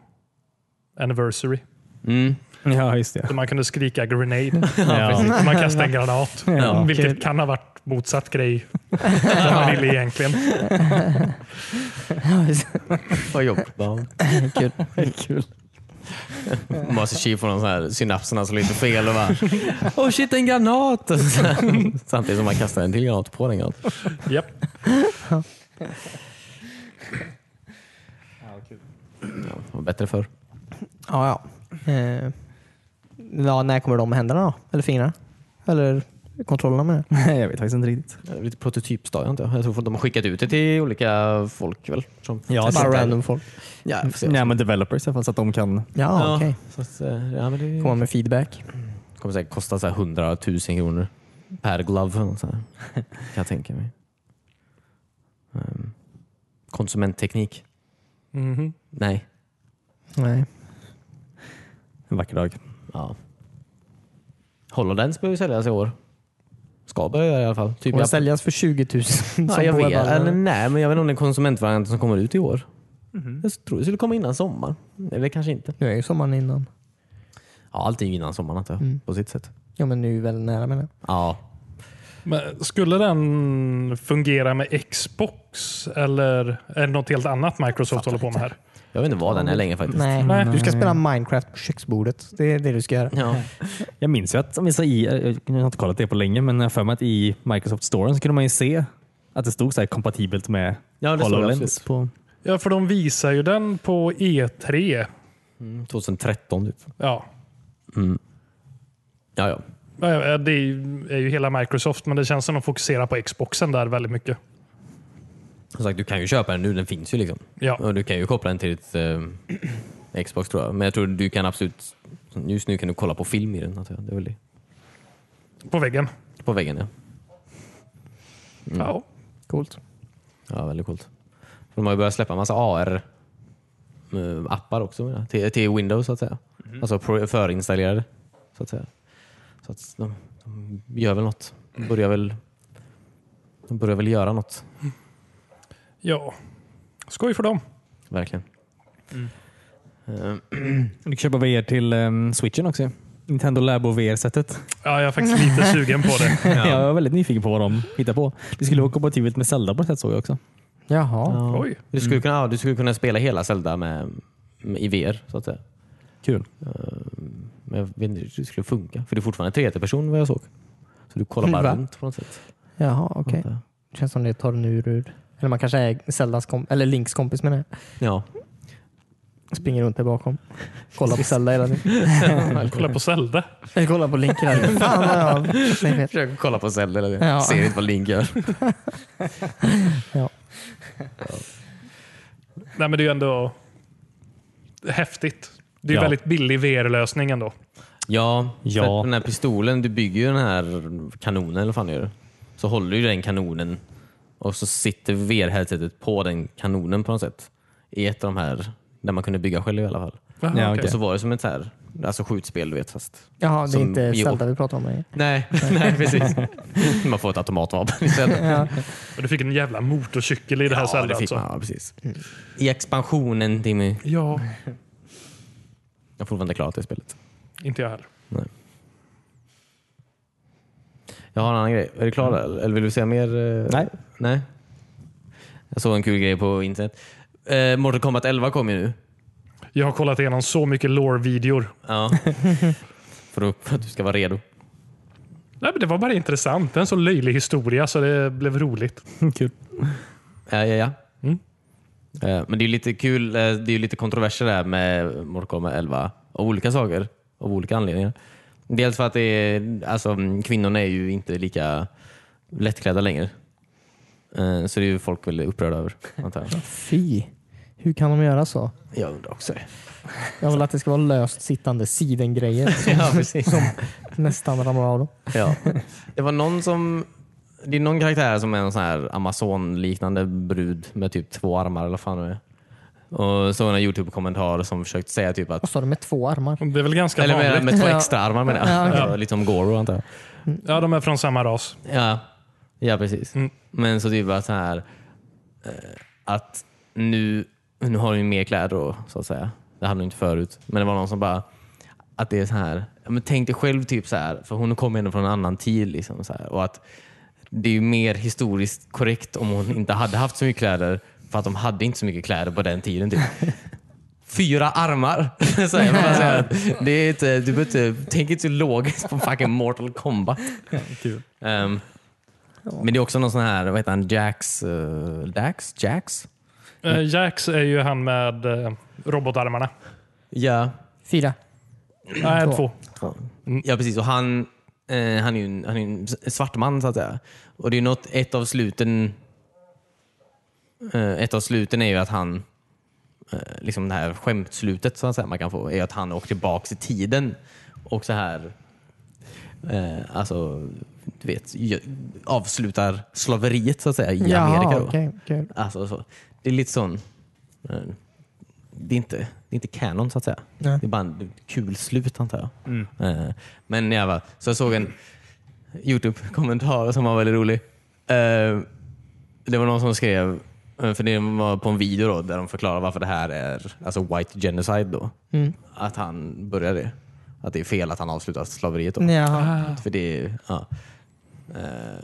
Anniversary.
Mm.
Ja, just det.
Där man kunde skrika grenade.
Ja.
Där man kastade en granat.
Ja.
Vilket kan ha varit motsatt grej. Vad man ville egentligen.
Vad jobbigt. Bara, Kul.
Kul.
Master Chief får någon sån här synapserna som lite fel och bara Åh oh shit, en granat! Och så här, Samtidigt som man kastar en till granat på den granaten.
Japp.
Ja, det var bättre förr.
Ja, ja. Eh, ja. När kommer de med händerna då? Eller fingrarna? Eller kontrollerna med det?
Jag vet faktiskt inte riktigt.
Det är Lite prototypstadion inte jag. Jag tror att de har skickat ut det till olika folk väl? Som
Ja,
testar
Bara
det.
random folk.
Ja, jag får se.
Nej, men developers i alla fall så att de kan...
Ja,
Ja,
okej.
så att, eh, ja, men det
Får man med feedback.
kommer säkert kosta så här 100 000 kronor per glove. eller något Så här. Kan jag tänka mig. Ehm, konsumentteknik?
Mhm.
Nej.
Nej.
En vacker dag.
Ja. HoloLens börjar ju säljas i år. Ska börja göra i alla fall. Typ
Och
i april.
säljas för 20 000 som
Ja, jag
på
vet.
webbhallen.
Eller, nej, men jag vet inte om det är konsumentvarianten som kommer ut i år. Jag tror det skulle komma innan sommaren. Eller kanske inte.
Nu är ju sommaren innan.
Ja, allting innan sommaren antar jag. På sitt sätt.
Ja, men nu är väl nära menar jag.
Ja.
Men skulle den fungera med Xbox eller är det något helt annat Microsoft håller på med här?
Jag vet inte vad den är länge faktiskt.
Nej.
Nej.
Mm. du ska spela Minecraft på köksbordet. Det är det du ska göra.
Ja.
Jag minns ju att, om vi sa i, jag har inte kollat det på länge, men jag har för mig att i Microsoft Storen så kunde man ju se att det stod så här kompatibelt med
Ja, det står det
HoloLens.
absolut.
På,
Ja, för de visar ju den på E3.
2013 typ.
Ja.
Ja, ja.
Ja, ja, Det är ju- är ju hela Microsoft, men det känns som de fokuserar på Xboxen där väldigt mycket.
Som sagt, du kan ju köpa den nu. Den finns ju liksom.
Ja,
Och du kan ju koppla den till ditt eh, Xbox tror jag. Men jag tror du kan absolut... Just nu kan du kolla på film i den. antar jag. Det är väl det.
på väggen.
På väggen ja.
Ja.
Coolt.
Ja, väldigt coolt. För De har ju börjat släppa en massa AR-appar också menar jag, till, till Windows så att säga. Alltså pro- förinstallerade så att säga. Så att de, de gör väl något. De börjar väl, de börjar väl göra något.
ja. Skoj för dem.
Verkligen. Eh,
du kan köpa VR till ehm, switchen också. Nintendo Labo VR-sättet.
Ja, jag är faktiskt lite sugen på det.
jag var väldigt nyfiken på vad de hittar på. Det skulle vara kompatibelt med Zelda på ett sätt såg jag också.
Jaha.
ja.
Oj.
du, skulle kunna, ja, du skulle kunna spela hela Zelda med, med, i VR så att säga.
Kul.
Men jag vet inte hur det skulle funka. För det är fortfarande tredje person vad jag såg. Så du kollar bara
Va?
runt på något sätt.
Jaha, okej.
antar jag.
Det känns som det tar en ur ur. Eller man kanske är Zeldas kom- eller Links kompis med det.
Ja.
Springer runt där bakom. Kollar på Zelda hela tiden.
Kolla på Zelda.
Jag kollar på Link hela tiden. Fan vad jag Nej, vet.
Försöker kolla på Zelda eller
Ja.
ser inte vad Link gör.
Ja.
Nej, men det är ju ändå häftigt. Det är ju
Ja.
väldigt billig VR-lösning ändå.
Ja,
Ja.
för att den här pistolen, du bygger ju den här kanonen eller vad fan gör du? Så håller du den kanonen och så sitter VR-headsetet på den kanonen på något sätt. I ett av de här, där man kunde bygga själv i alla fall.
Jaha,
Ja,
okej.
Och så var det som ett så här, alltså skjutspel du vet fast...
Jaha, det är
Som-
inte
jo.
Zelda vi pratar om. Nej.
Nej, nej precis. Man får ett automatvapen istället.
Och du fick en jävla motorcykel i det här
Ja,
Zelda
det fick
alltså.
man. Ja, precis. I expansionen Timmy.
Ja,
Jag har fortfarande inte klarat det spelet.
inte jag heller.
Jag har en annan grej. Är du klar där? Eller vill du säga mer? eh,
Nej.
Mm. Nej. Jag såg en kul grej på internet. Eh, Mortal Kombat 11 kom ju nu.
Jag har kollat igenom så mycket lore-videor.
Ja. för, att, för att du ska vara redo.
Nej, men Det var bara intressant. Det är en så löjlig historia så det blev roligt.
Mm, Kul.
Ja, ja, ja. Eh, men det är ju lite kul. eh, det är ju lite kontroverser där med Mortal Kombat 11. Av olika saker. Av olika anledningar. Dels för att det är, alltså, mm, kvinnorna är ju inte lika lättklädda längre. Eh, så det är ju folk väldigt upprörda över. Antar jag.
Fy. Hur kan de göra så?
Jag undrar också det.
Jag vill att det ska vara löst sittande sidengrejer som
Ja, precis.
nästan ramlar av dem.
Ja. Det var någon som... Det är någon karaktär som är en sån här Amazon-liknande brud med typ två armar eller vad fan det är. Och så en YouTube-kommentar som försökt säga typ att...
Vad sa du? Med två armar?
Det är väl ganska
Eller
vanligt.
med, med två
Ja.
extra armar menar jag.
Ja,
Lite som Goro antar jag.
Ja, de är från samma ras.
Ja, ja precis.
Mm.
Men så typ bara så här eh, att nu, nu har du ju mer kläder då, så att säga. Det hade du inte förut. Men det var någon som bara att det är så här, ja, men tänk dig själv typ så här, för hon kommer ändå från en annan tid liksom så här, och att det är ju mer historiskt korrekt om hon inte hade haft så mycket kläder för att de hade inte så mycket kläder på den tiden. Typ. Fyra armar! så här, man bara så här, det är inte, du behöver inte, tänk inte så logiskt på fucking Mortal Kombat. Ehm, men det är också någon sån här, vad heter han, Jax? eh, Dax? Jax?
Eh,
Mm.
Jax är ju han med eh, robotarmarna.
Ja.
Fyra.
Nej, två.
Ja precis, och han, eh, han är ju en, han är ju en s- svart man så att säga. Och det är något, ett av sluten eh, ett av sluten är ju att han eh, liksom det här skämtslutet så att säga, man kan få är att han åker tillbaks i tiden och så här eh, alltså du vet gö- avslutar slaveriet så att säga i Amerika.
Jaha,
Då.
okej. kul.
Alltså, så. Det är lite sån... eh, Det är inte, det är inte canon så att säga.
Nej.
Det är bara en kul slut antar jag. Eh, Men jag var, så jag såg en Youtube-kommentar som var väldigt rolig. Eh, Det var någon som skrev, eh, för det var på en video då, där de förklarar varför det här är alltså white genocide. Då. Att han börjar det. Att det är fel att han avslutar slaveriet. Då.
Jaha.
För det är, ja. Eh,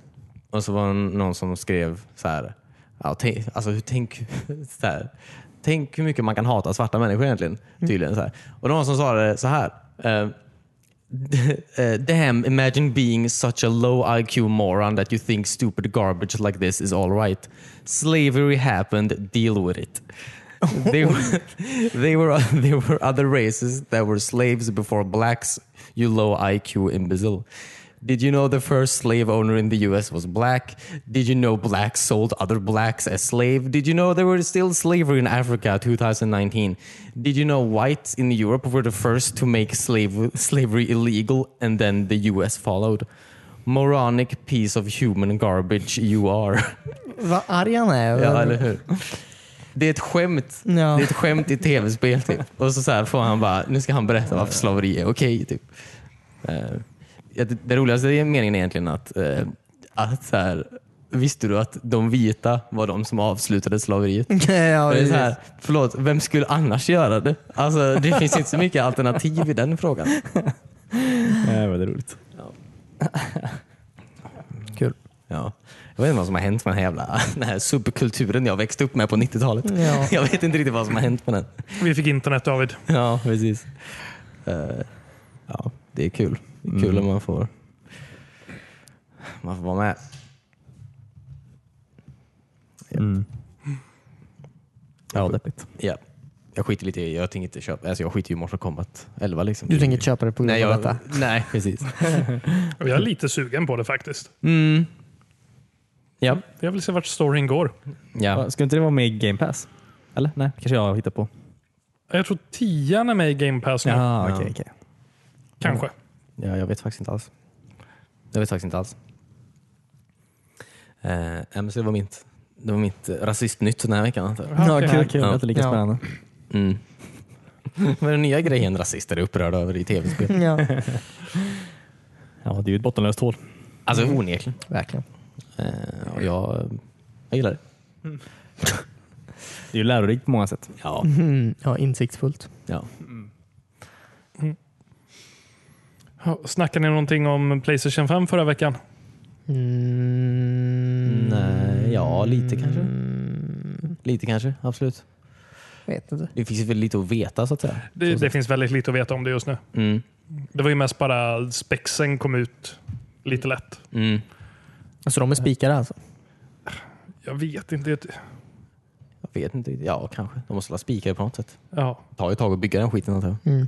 och så var det någon som skrev så här, ja, tänk, alltså, hur- tänk, så här, tänk hur mycket man kan hata svarta människor egentligen. Tydligen, så här. Och det var någon som sa det så här. eh, eh, Damn, imagine being such a low IQ moron that you think stupid garbage like this is alright. Slavery happened, deal with it. They were, they were they were other races that were slaves before blacks. You low IQ imbecile. Did you know the first slave owner in the U.S. was black? Did you know blacks sold other blacks as slave? Did you know there was still slavery in Africa 2019? Did you know whites in Europe were the first to make slave, slavery illegal, and then the U.S. followed? Moronic piece of human garbage you are.
Vad arg han är.
Ja, eller hur? Det är ett skämt.
Ja.
Det är typ- ett skämt i tv-spel typ. Och så, så här får han bara, nu ska han berätta varför slaveri är okej. typ. Eh, ja, det- det roligaste i meningen är egentligen att, eh, att så här, visste du att de vita var de som avslutade slaveriet?
ja,
Och det är så
precis.
här, förlåt, vem skulle annars göra det? Alltså, det finns inte så mycket alternativ i den frågan.
Det var roligt.
Kul.
Ja. Jag vet inte vad som har hänt med den här jävla den här subkulturen jag växte upp med på 90-talet.
Ja.
Jag vet inte riktigt vad som har hänt med den.
Vi fick internet David.
Ja, precis. Eh, ja, det är kul. Det är kul om man får, Mm. man får vara med.
Mm. Ja, deppigt.
Ja. Jag skiter lite i, jag tänker inte köpa, alltså jag skiter ju i Mortal Kombat 11 liksom.
Du tänker inte köpa det på grund
nej,
av
jag,
detta?
nej, precis.
Och jag är lite sugen på det faktiskt.
Mm. Ja.
Jag vill se vart storyn går.
ja.
Ska inte det vara med i Game Pass? Eller? Nej, kanske jag hittar på.
Jag tror tian är med i Game Pass nu.
Ja,
Ja.
okej. okej.
Kanske.
Ja, jag vet faktiskt inte alls. Jag vet faktiskt inte alls. Eh, nej, men så det var mitt, det var mitt eh, rasistnytt den här veckan. antar jag.
Ja,
Ja,
okej.
kul, kul.
Ja.
Ja. Inte lika
Ja.
spännande.
Mm. Vad är den nya grejen rasister är upprörda över i tv-spel?
Ja,
Ja, det är ju ett bottenlöst hål.
Alltså onekligen.
verkligen.
Eh, och jag, eh, jag gillar det.
Det är ju lärorikt på många sätt.
Ja.
Mm, ja, insiktsfullt.
ja.
Ja, Snackade ni någonting om Playstation 5 förra veckan?
Mm,
Nej, eh, ja, lite kanske. Lite kanske, absolut.
vet inte.
Det finns ju väl lite att veta så att säga.
Det, det finns väldigt lite att veta om det just nu.
Mm.
Det var ju mest bara spexen kom ut lite lätt.
Mm.
Alltså de är spikade alltså?
Jag vet inte. det-
Jag vet inte riktigt. Ja, kanske. De måste la spika det på något sätt.
Ja.
Det tar ju ett tag att bygga den skiten antar jag.
Mm.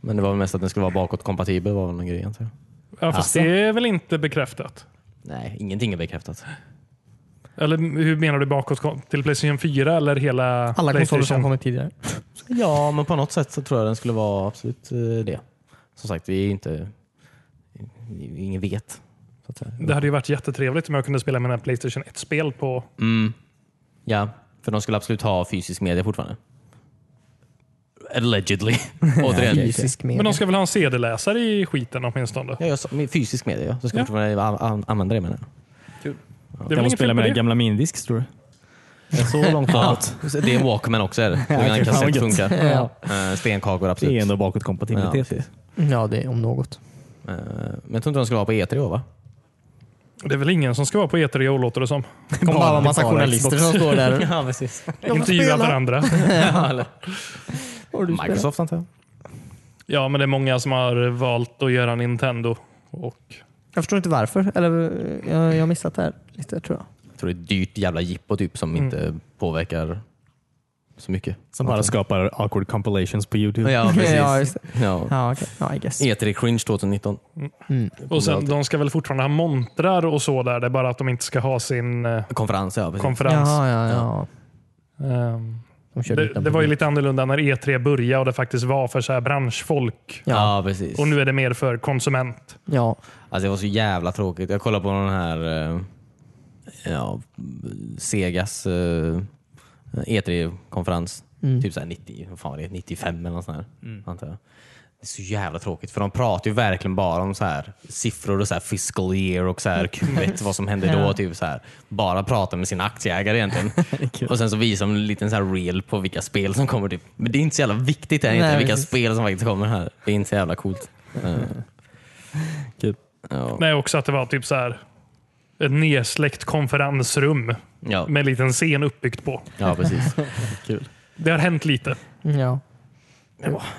Men det var väl mest att den skulle vara bakåtkompatibel var väl någon grej antar jag.
Ja, fast
Alltså.
det är väl inte bekräftat?
Nej, ingenting är bekräftat.
Eller hur menar du bakåt? Till Playstation 4 eller hela
Alla konsoler som
Playstation?
kommit tidigare.
Ja, men på något sätt så tror jag den skulle vara absolut eh, det. Som sagt, vi är inte... Ingen vet. Så att säga.
Det hade ju varit jättetrevligt om jag kunde spela mina Playstation 1-spel på...
Mm. Ja, för de skulle absolut ha fysisk media fortfarande. Allegedly. Återigen.
Fysisk media.
Men de ska väl ha en CD-läsare i skiten åtminstone?
Ja, jag sa, med fysisk media, ja. Så ska
Ja.
ja. fortfarande an, an, använda det menar jag.
Det är
Kan
väl
man
inget fel
spela
på
med
det?
den gamla minidisk tror du? Det är så långt bakåt.
Så Det är en Walkman också. Är det. Så
okej,
en
fan vad
kassett
gött.
funkar.
Ja.
Eh, Stenkakor absolut.
Det är ändå
Ja,
bakåtkompatibilitet.
precis.
Ja, det är om något.
Eh, Men jag tror inte de skulle vara på E E3 va?
Det är väl ingen som ska vara på E3 låter det som.
Det kommer bara vara massa
bara
journalister som står där.
Ja, precis.
Intervjua varandra.
Microsoft antar jag.
Ja, men det är många som har valt att göra Nintendo. Och
Jag förstår inte varför. Eller, eh, jag, jag har missat det här lite tror jag.
Jag tror det är ett dyrt jävla jippo typ som inte påverkar så mycket.
Som bara skapar awkward compilations på YouTube.
Ja, precis.
Ja,
ja,
just Ja, okej. Ja, I guess.
E3 Cringe 2019.
Och sen,
Alltid.
de ska väl fortfarande ha montrar och så där. Det är bara att de inte ska ha sin eh,
Konferens, ja. Precis.
konferens.
Jaha, ja, ja.
Ehm,
De körde
det,
utan
det var ju
publik.
lite annorlunda när E3 började och det faktiskt var för så här branschfolk.
ja. precis.
Och nu är det mer för konsument.
Ja.
Alltså, det var så jävla tråkigt. Jag kollade på den här eh, ja, Segas eh, E3-konferens.
Mm.
Typ så här 90, vad fan var det, 95 eller något sånt här, antar jag. Det är så jävla tråkigt för de pratar ju verkligen bara om så här, siffror och så här fiscal year och så här, Q1, vad som hände då. Typ så här. Bara pratar med sina aktieägare egentligen. och sen så visar de en liten så här reel på vilka spel som kommer. Typ. Men det är inte så jävla viktigt det är inte
Nej,
vilka
precis.
spel som faktiskt kommer här. Det är inte så jävla coolt. Eh, ja.
Nej, också att det var typ så här ett nedsläckt konferensrum
Ja.
med en liten scen uppbyggt på.
Ja, precis.
Det har hänt lite.
ja.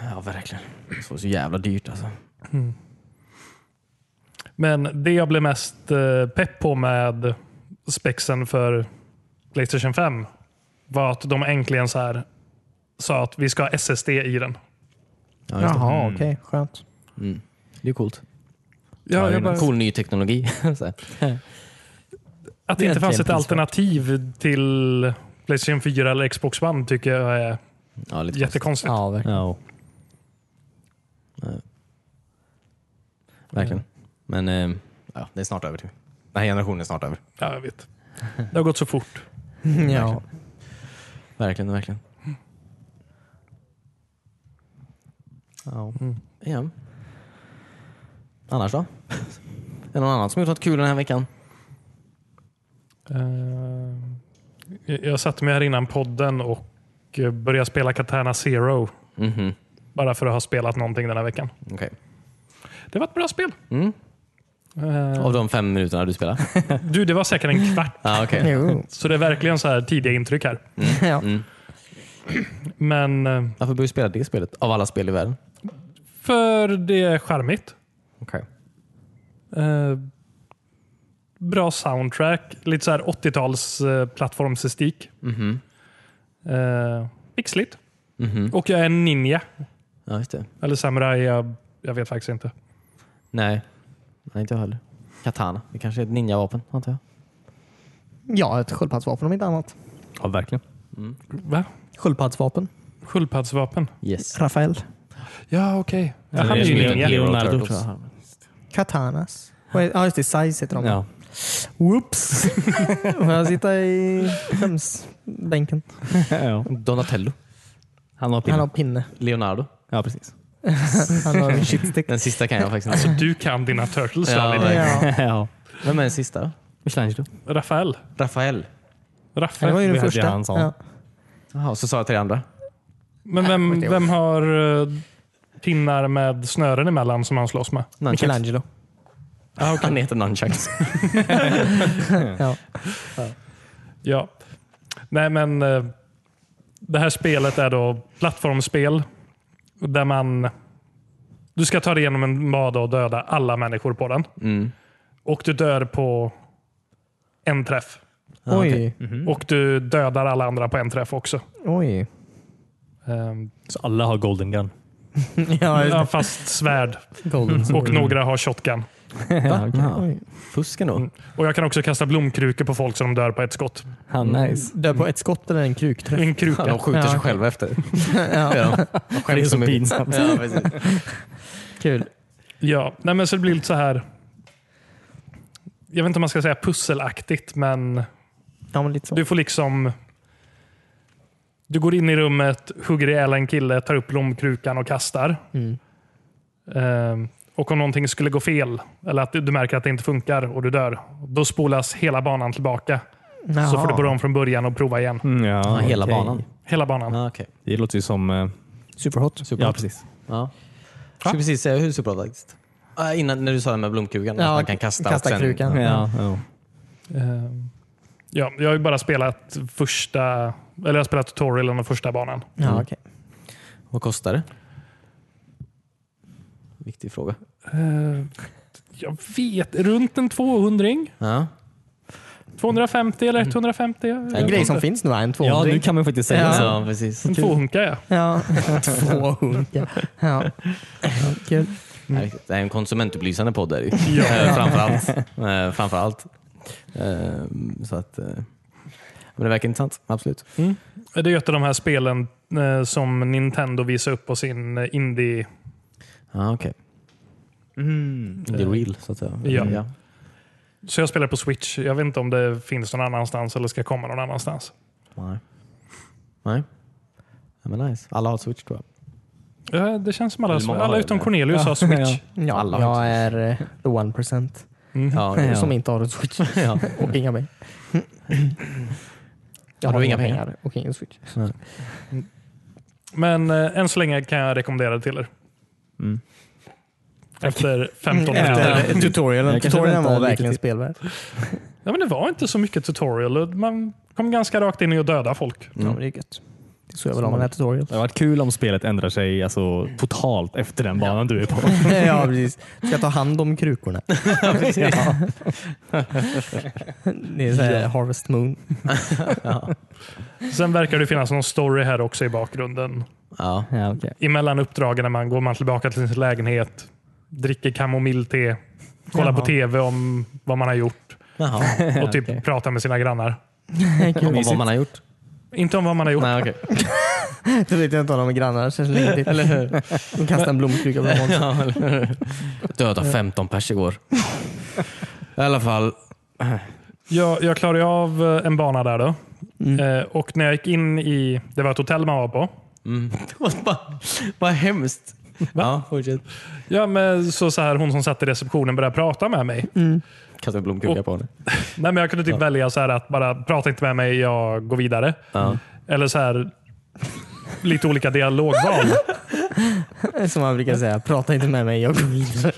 Ja, verkligen. Det var så jävla dyrt alltså.
Men det jag blev mest eh, pepp på med spexen för Playstation 5 var att de äntligen så här sa att vi ska ha SSD i den.
Ja, just det.
Jaha, okej. Skönt.
det är coolt.
Ja, jag bara,
Cool ny teknologi. Så här.
Att det inte fanns ett
Egentligen
alternativ till Playstation 4 eller Xbox One tycker jag är
ja, lite konstigt.
jättekonstigt.
Ja, verkligen.
Ja, och
Verkligen. Men eh, ja, det är snart över. Typ. Den här generationen är snart över.
Ja, jag vet. Det har gått så fort.
Ja.
Verkligen, verkligen. Ja.
Mm.
ja. Annars då? Är det någon annan som gjort något kul den här veckan?
Eh, jag- Jag satte mig här innan podden och eh, började spela Katana Zero.
Mhm.
Bara för att ha spelat någonting den här veckan.
Okej.
Det var ett bra spel.
Mm.
Eh,
Av de fem minuterna du spelar?
Du, det var säkert en kvart.
Ja, okej.
Jo.
Så det är verkligen så här tidiga intryck här.
Ja.
Men eh,
Varför började du spela det spelet? Av alla spel i världen?
för det är charmigt.
Okej.
Eh, Bra soundtrack. Lite så här 80-tals eh, plattformsestik.
Mhm.
Eh, Pixligt.
Mhm.
Och jag är en ninja.
Ja, just det.
Eller samurai. Jag, jag vet faktiskt inte.
Nej. Nej, inte jag heller. Katana. Det kanske är ett ninjavapen, antar jag.
ja, ett sköldpaddsvapen om inte annat.
ja verkligen.
Va?
Sköldpaddsvapen.
Sköldpaddsvapen?
Yes.
Rafael.
Ja, okej. Ja, han
det
är
är
ju
ju
ninja.
Leonardo,
Turtles.
tror jag.
Katanas. Vad är- Ja, just det. Size heter de.
Ja.
Whoops! Får jag sitta i skämsbänken?
ja.
Donatello.
Han har
Han
pinne.
har pinne.
Leonardo.
Ja, precis.
Han har shitstick.
Den sista kan jag faktiskt inte.
Alltså, du kan dina Turtles,
Ja,
David.
verkligen.
Ja.
ja.
Vem är den sista då?
Michelangelo.
Rafael.
Rafael.
Det var
Rafael.
ju
Det
den
hade
första.
han sa.
Ja.
Jaha, så sa jag till det andra.
Men vem, vem har eh, pinnar med snören emellan som han slåss med?
Nunchucks.
Michelangelo.
Ah, Han heter Nunchucks.
Ja.
Ja. Nej, men eh, det här spelet är då plattformsspel där man du ska ta dig igenom en bada och döda alla människor på den.
Mm.
Och du dör på en träff.
Oj.
Och du dödar alla andra på en träff också.
Oj.
Ehm,
Så alla har golden gun.
Ja, just
ja, fast svärd
det. golden.
och några har shotgun.
ja, okej.
Jaha. Fusk ändå.
Och jag kan också kasta blomkrukor på folk så de dör på ett skott.
Ja, nice.
Dör på ett skott eller en krukträff?
En kruka.
De skjuter sig
Ja.
själva efter.
ja,
Ja, de skäms
Det är så
mycket.
pinsamt.
Ja, precis.
kul.
Ja, nej men så det blir lite så här. Jag vet inte om man ska säga pusselaktigt, men
Ja, men lite så.
du får liksom. Du går in i rummet, hugger ihjäl en kille, tar upp blomkrukan och kastar.
Mm.
Ehm, och om någonting skulle gå fel eller att du du märker att det inte funkar och du dör, då spolas hela banan tillbaka. Så får du börja om från början och prova igen.
Mm, ja,
Ja, hela
okej.
banan.
Hela banan.
Ja, okej.
Det låter ju som... Eh,
Superhot.
ja, precis.
Ja. Ska vi precis säga hur superbra faktiskt? Ah, Innan när du sa det med blomkrukan,
Ja,
att man kan kasta,
kasta
och sen,
krukan.
Ja,
Ja.
ja.
Ehm, ja, jag har ju bara spelat första, eller jag har spelat tutorialen och första banan.
Ja, okej.
Vad kostar det? Viktig fråga.
Ehm, jag vet, runt en 200
Ja.
250
Mm.
eller 150? jag vet
En grej som
inte.
finns nu är en
ja, nu
tvåhundring.
kan man faktiskt säga Alltså,
Ja.
så.
ja, precis.
En tvåhunka ja.
Ja, tvåhundra. Ja. Kul.
Nej, Det här är en konsumentupplysande podd. Där, ju.
Ja.
Eh, framförallt. Eh, framförallt. Eh, så att, eh, men det verkar intressant. Absolut.
Det är ju ett av de här spelen eh, som Nintendo visar upp på sin eh, indie.
Ja, okej. Det är real, så att säga.
Mm. Ja. Så jag spelar på Switch. Jag vet inte om det finns någon annanstans eller ska komma någon annanstans.
Nej. Nej. Ja, men nice. Alla har Switch tror jag.
Ja, det känns som alla,
Eller många har
alla
det.
utom Cornelius har Switch.
Ja,
Alla har
jag är eh, the one percent
Ja, ja.
som inte har en switch
ja.
och inga pengar. Jag
du inga pengar?
och ingen switch.
Men eh, än så länge kan jag rekommendera det till er. Efter 15 minuter.
Efter tutorialen.
Jag kanske
Tutorialen var
väntar lite
verkligen
till.
spelvärd.
Ja, men det var inte så mycket tutorial. och Man kom ganska rakt in i att döda folk.
Mm.
Ja, men det är gött. Det är så jag vill ha med den här tutorial.
Det har varit kul om spelet ändrar sig alltså, totalt efter den banan du är på.
ja, precis. Ska ta hand om krukorna. ja. Det är så här Harvest Moon.
Sen verkar det finnas någon story här också i bakgrunden.
ja.
Ja, okay.
emellan uppdragen när man går man tillbaka till sin lägenhet, dricker kamomillte, kollar
Jaha.
på tv om vad man har gjort
Jaha.
och typ pratar med sina grannar.
Och vad man har gjort?
Inte om vad man har gjort.
Nej, okej.
Det vet jag inte om de är grannar. Känns länge till. Eller hur? Kasta en blomkruka på dem.
Ja, eller- Döda 15 pers igår. I alla fall.
Jag, jag klarade ju av eh, en bana där då. Eh, och när jag gick in i, det var ett hotell man var på.
Mm. Vad- Vad hemskt. Ja, fortsätt.
Ja, men så, så här, hon som satt i receptionen började prata med mig.
Kasta en blomkruka
Och-
på henne.
Nej, men jag kunde typ välja så här att bara prata inte med mig, jag går vidare.
Ja.
Eller så här lite olika dialogval.
Som man brukar säga, prata inte med mig, jag går vidare.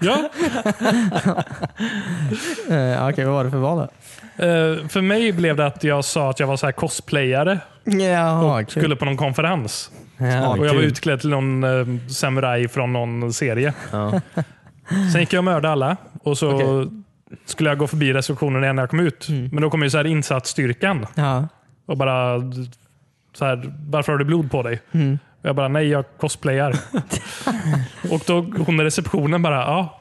ja,
Eh, Okej, vad var det för val då?
Eh, för mig blev det att jag sa att jag var så här cosplayare.
Jaha, kul.
Skulle på någon konferens.
Ja,
och jag var
kul.
utklädd till någon eh, samuraj från någon serie.
Ja.
Sen gick jag och mördade alla. Och så
Okej. Mm.
skulle jag gå förbi receptionen igen när jag kom ut. Men då kom ju så här insatsstyrkan
Ja.
och bara så här, varför har du blod på dig? Och jag bara, nej jag cosplayar. och då hon i receptionen bara, ja,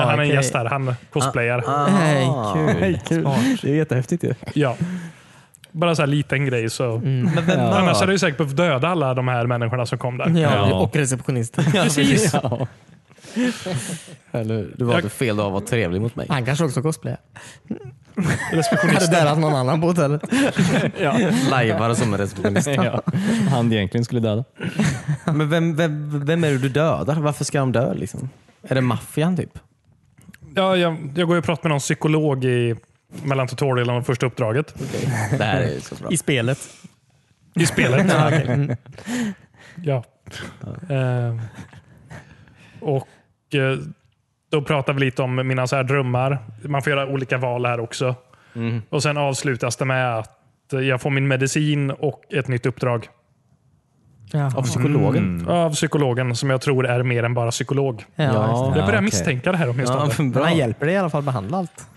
eh, han är en
Ah, okej. ah.
gäst här, han cosplayar.
Nej, kul.
Hej, kul. Det är jättehäftigt ju.
Ja. Bara så här liten grej. Så. Annars hade jag ju säkert behövt döda alla de här människorna som kom där.
Ja,
Ja.
och receptionisten.
Precis.
Ja.
Eller, du valde
Jag-
fel dag att vara trevlig mot mig.
Han kanske också cosplayar. Hade dödat någon annan på hotellet.
Lajvare som en receptionist.
Ja. Han egentligen skulle döda.
Men vem, vem, vem är det du dödar? Varför ska de dö? Liksom? Är det maffian typ?
Ja, jag, jag går ju och pratar med någon psykolog i, mellan tutorialen och första uppdraget
Det här är ju så bra.
I spelet.
i spelet. ja. Ehm. och eh, Då pratar vi lite om mina så här drömmar. Man får göra olika val här också. Och Sen avslutas det med att jag får min medicin och ett nytt uppdrag
Av psykologen?
av psykologen som jag tror är mer än bara psykolog.
Ja,
Jag börjar
Ah, okej.
misstänka det här åtminstone.
Ja,
Men
bra.
han hjälper dig i alla fall behandla allt.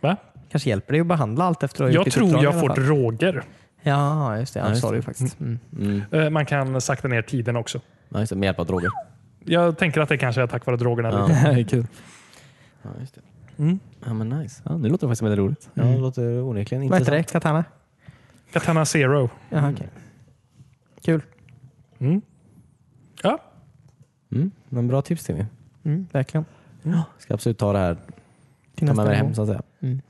Va?
Kanske hjälper dig att behandla allt efter att ha gjort
Jag
ditt
tror
uppdrag i
jag
alla
får
fall.
droger.
Ja, just det.
Ja,
Han
just
sa det
det.
ju faktiskt. Mm.
Eh, Man kan sakta ner tiden också.
Ja, just det, med hjälp av droger.
Jag tänker att det kanske är tack vare drogerna.
Ja.
lite.
Kul.
Ja, just det.
Mm.
Ja, men nice.
Ja, nu låter det faktiskt väldigt roligt.
Ja, det låter onekligen
Vad
intressant.
heter det? Katana?
Katana Zero.
Ja, okej. Kul.
Mm. Ja,
Mm, men bra tips Timmy.
Mm, verkligen.
Ska absolut ta det här.
Till
Ta
nästa
med det
gång.
hem så att säga.
Mm.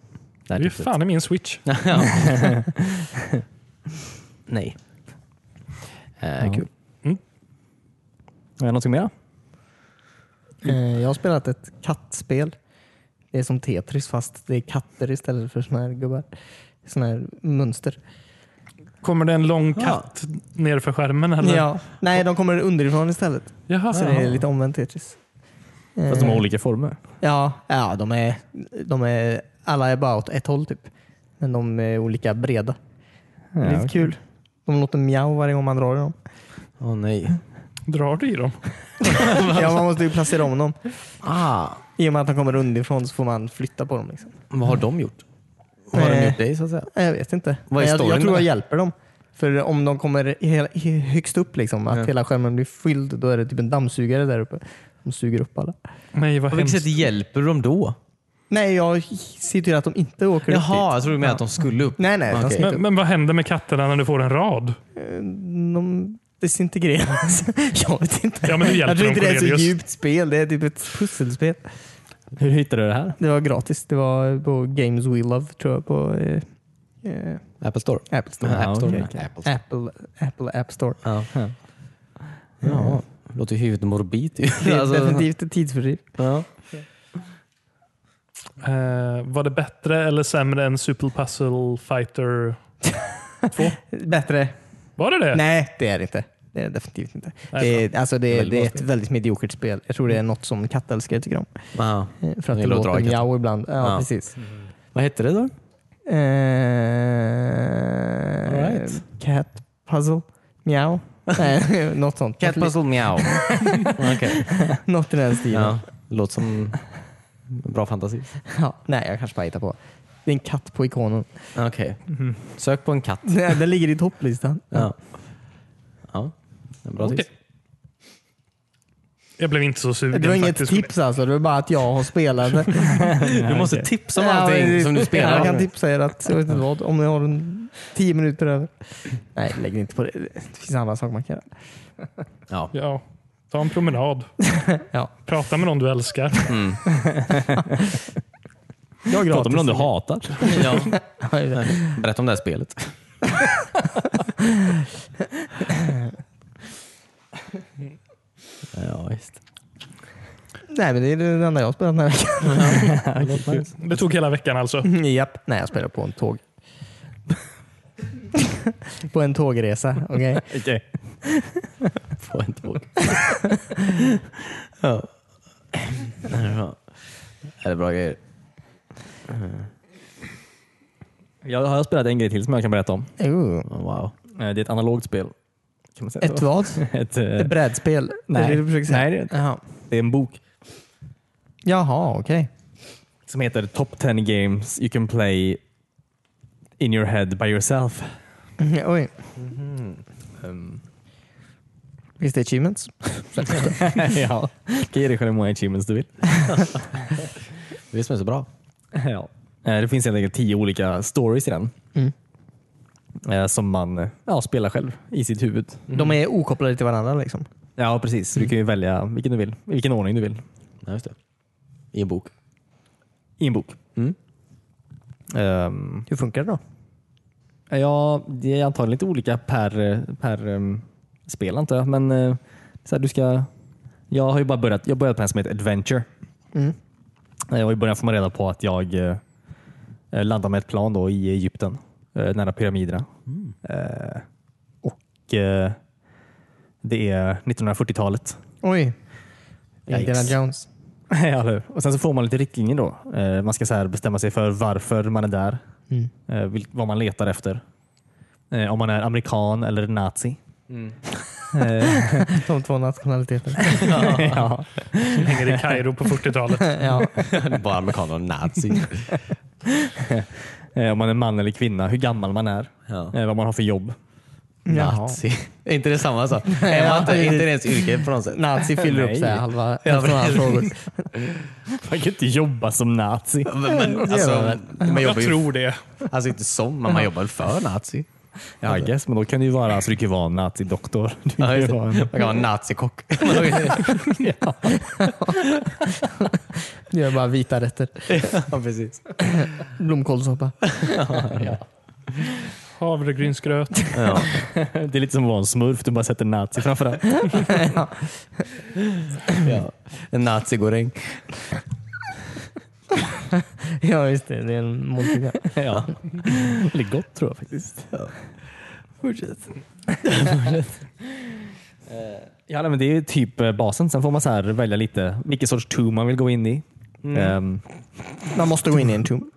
Det här
det är ju
tipset.
fan i min switch.
Ja. Nej. Eh, Kul.
Är det någonting mer?
Eh, Jag har spelat ett kattspel. Det är som Tetris fast det är katter istället för såna här gubbar. Såna här mönster.
Kommer det en lång
Ja.
katt ner för skärmen? Eller? Alltså,
Ja. Nej, de kommer underifrån istället.
Jaha.
Så det är lite omvänt Tetris.
Fast de har
Eh,
olika former.
Ja, ja de, är, de är alla är bara åt ett håll typ. Men de är olika breda.
Ja,
lite
okej.
kul. De låter mjau varje gång man drar i dem.
Åh nej.
Drar du i dem?
ja, man måste ju placera om dem.
Ah,
I och med att de kommer underifrån så får man flytta på dem. Liksom.
vad har de gjort? Vad har de
Eh.
gjort dig så att säga?
Nej, Jag vet inte.
Vad är
Men jag,
storyn
jag tror
med
jag
det?
hjälper dem. För om de kommer hela- he- högst upp, liksom, att
Ja.
hela skärmen blir fylld, då är det typ en dammsugare där uppe. De suger upp alla.
Nej, vad
På vilket
hemskt.
sätt hjälper de då?
Nej, jag ser till att de inte åker upp
Jaha,
dit.
jag trodde du menade att de skulle upp.
Nej, nej.
Okej.
De, ska inte
Men, men vad händer med katterna när du får en rad?
upp. de Eh, disintegreras. jag vet inte.
Ja, men du hjälper
jag tror inte
dem,
det är ett
Cornelius.
så djupt spel. Det är typ ett pusselspel.
Hur hittade du det här?
Det var gratis. Det var på Games We Love, tror jag, på eh, eh,
Apple Store.
Apple Store.
Ja,
App Store.
okej,
Apple Store.
Apple, Apple App Store.
Ja. ja. Låter ju huvudet morbid. ju.
Det är
Alltså,
definitivt ett tidsfördriv.
Ja.
Eh, var det bättre eller sämre än Super Puzzle Fighter 2?
Bättre
Var det det?
Nej, det är det inte. Det är det definitivt inte.
Nej,
Det är, alltså det, är,
Väldigt
det
bra
är ett
spel.
väldigt mediokert spel. Jag tror det är något som kattälskare tycker om.
Ja.
Eh, För att
De
det
gillar att dra
låter
i katter.
mjau ibland. Ja,
Ja.
precis.
Vad hette det då?
Eh,
Alright.
Cat puzzle. Mjau. Nej, något sånt.
Cat Puzzle Meow. Okej.
Något i den stilen. Ja.
Ja. Låter som bra fantasi.
nej, jag kanske bara hittar på. Det är en katt på ikonen.
Okej.
Mm-hmm.
Sök på en katt.
Nej, Den ligger i topplistan.
Ja. ja. En bra tips.
Okej. Jag blev inte så sugen
Det var inget
faktiskt.
tips alltså. Det var bara att jag har spelat det.
Du måste tipsa om
Ja,
allting
men-
som du spelar.
Jag kan tipsa er att, jag vet inte vad, om ni har en tio minuter över. Nej, lägg inte på det. Det finns andra saker man kan göra.
Ja.
Ja. Ta en promenad.
Ja.
Prata med någon du älskar.
Jag har
Prata
gratis.
med någon du hatar.
ja.
Ja, just det.
Berätta om det här spelet. ja, visst.
Nej, men det är det enda jag har spelat den här veckan.
Det tog hela veckan alltså.
Japp. Nej, jag spelar på en tåg. på en tågresa, okej?
Okej.
På en tåg. ja. Det är bra. Det är bra grejer.
Jag har spelat en grej till som jag kan berätta om.
Oh.
Oh, Wow.
Eh, Det är ett analogt spel. Kan man säga
Ett
så?
vad?
Ett, eh,
Ett brädspel?
Nej.
Är det det du försöker säga?
Nej, det är inte.
Jaha,
det är en bok
Jaha okej.
som heter Top 10 Games You Can Play In Your Head By Yourself.
Oj. Mm-hmm.
Um,
Finns det achievements?
ja. Kan ge dig själv hur många achievements du vill.
Det är det som är så bra.
Ja. Eh, Det finns helt enkelt tio olika stories i den.
Mm.
Eh, Som man eh, ja, spelar själv i sitt huvud.
De är okopplade till varandra liksom?
Ja, precis. Så Du kan ju välja vilken du vill, i vilken ordning du vill.
Ja, just det. I en bok.
I en bok.
Mm.
Ehm,
Hur funkar det då?
ja, det är antagligen lite olika per, eh, per ehm, spel antar jag. Men eh, så här, du ska... Jag har ju bara börjat, jag har börjat på en som heter Adventure.
Mm.
Eh, Och I början får man reda på att jag eh, eh, landar med ett plan då i Egypten, eh, nära pyramiderna. Eh, och eh, Det är 1940-talet.
Oj.
Yikes.
Indiana Jones.
ja, eller hur? och Sen så får man lite riktlinjer. då. Eh, man ska så här bestämma sig för varför man är där,
Mm.
eh, vil- vad man letar efter. Eh, om man är amerikan eller nazi. Eh,
De två nationaliteterna.
ja.
Hänger i Kairo på 40-talet.
ja.
Bara amerikaner och nazi.
eh, om man är man eller kvinna, hur gammal man är,
Ja.
eh, vad man har för jobb.
Jaha.
Nazi. Är inte det samma sak? Är
Ja,
man inte,
det-
inte det ens yrke på något sätt?
Nazi fyller upp
Nej.
sig halva hälften av alla
precis.
frågor.
Man kan inte jobba som nazi.
Men, men,
gör
alltså,
man
man
Jag
jobbar ju
tror det.
alltså, inte som, men man jobbar väl för nazi?
Ja, I guess, men då kan du ju vara, alltså, du kan ju vara en nazidoktor. Du kan
Ja,
ju
just det.
vara
Man
en-
kan vara nazikock.
Gör bara vita rätter.
ja, precis.
Blomkålssoppa.
Havregrynsgröt.
Ja.
det är lite som att vara en smurf, du bara sätter nazi framför allt.
Ja. En nazigoreng.
Ja just det, det är en måltid. ja.
ja. Väldigt gott tror jag faktiskt.
Fortsätt.
Ja, nej, men det är typ eh, basen. Sen får man så här välja lite vilken sorts tur man vill gå in i. Ehm,
Man måste gå in i en tom.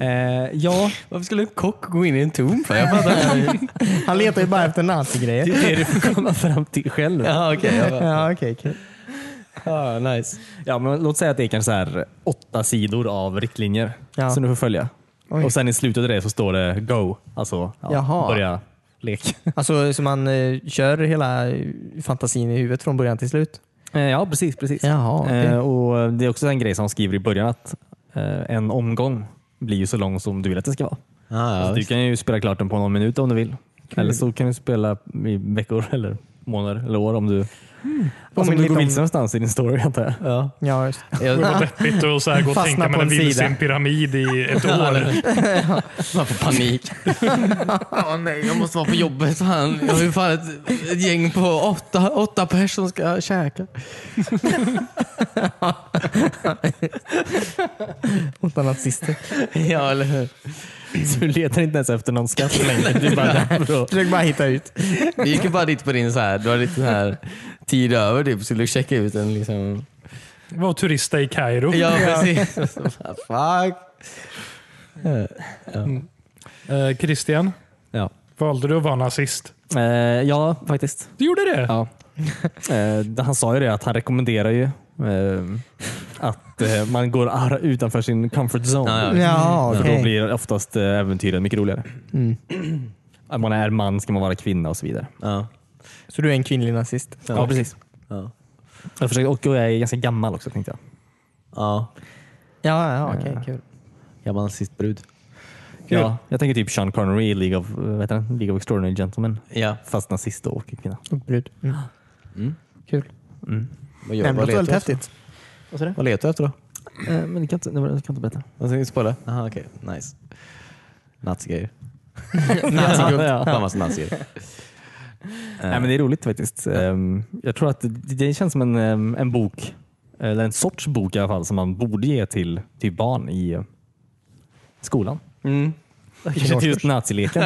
eh, ja,
Varför skulle en kock gå in i en tom för? Jag fattar inte.
Han letar ju bara efter nazigrejer.
det är det du får komma fram till själv.
Ja, okej. jag bara-
Ja, okej. kul.
Ja, nice.
Ja, men låt säga att det är kanske så här åtta sidor av riktlinjer
Ja.
som du får följa.
Oj.
Och sen i slutet av det så står det go. Alltså ja,
Jaha.
börja lek.
Alltså så man eh, kör hela eh, fantasin i huvudet från början till slut?
Eh, Ja, precis. precis.
Jaha, okej.
Eh, Och Det är också en grej som han skriver i början att eh, en omgång blir ju så lång som du vill att det ska vara.
Ah,
Så
ja,
du kan ju spela klart den på någon minut om du vill. Eller så kan du spela i veckor eller månader eller år om du,
Hmm.
alltså, om
Påminner
du går
lite om-
vilse någonstans i din story antar jag.
ja.
Ja, just det.
Det var
Jag,
deppigt att så här gå och
Fastna
tänka
på
man
en
en vilse
sida.
i en pyramid i ett år.
man får panik. Ja, nej, jag måste vara på jobbet. Fan. Jag har ju fan ett, ett gäng på åtta, åtta personer som ska käka.
Åtta nazister.
Ja, eller hur?
Så du letar inte ens efter någon skatt längre. Du är bara där för att
Försök bara hitta ut.
Vi gick ju bara dit på din så här, du hade lite så här tid över typ, så skulle du checka ut en liksom.
Var turista i Kairo.
Ja, precis. Och så bara, Fuck.
Eh, Christian,
Ja.
valde du att vara nazist?
Eh, ja, faktiskt.
Du gjorde det?
Ja. Eh, han sa ju det att han rekommenderar ju eh, att eh, man går ar- utanför sin comfort zone.
Ja, ja.
Ja,
För
okej.
då blir oftast eh, äventyren mycket roligare. Mm. Att man är man ska man vara kvinna och så vidare.
Ja.
Så du är en kvinnlig nazist?
Ja, precis.
Ja.
Jag försöker, och jag är ganska gammal också tänkte jag.
ja.
Ja, ja okej. kul.
Jag var nazist brud.
Kul.
Ja, jag tänker typ Sean Connery i League of, eh, vad heter den? League of Extraordinary Gentlemen.
Ja.
Fast nazist och kvinna.
Och brud. Mm. Kul.
Vad,
Nej,
gör,
men det
vad,
låter
letar
väldigt
du efter?
häftigt.
vad letar du efter då?
Eh, men det kan inte, det var- jag kan inte berätta.
Vad ska vi spoila? Jaha, okej. Nice. Nazigrejer.
Nazigubbe. Ja.
Fan massa nazigrejer.
Nej, men det är roligt faktiskt. Ehm, Jag tror att det- det känns som en, ehm, en bok, eh, eller en sorts bok i alla fall, som man borde ge till, till barn i eh, skolan. Typ
Mm.
Kanske inte just nazileken.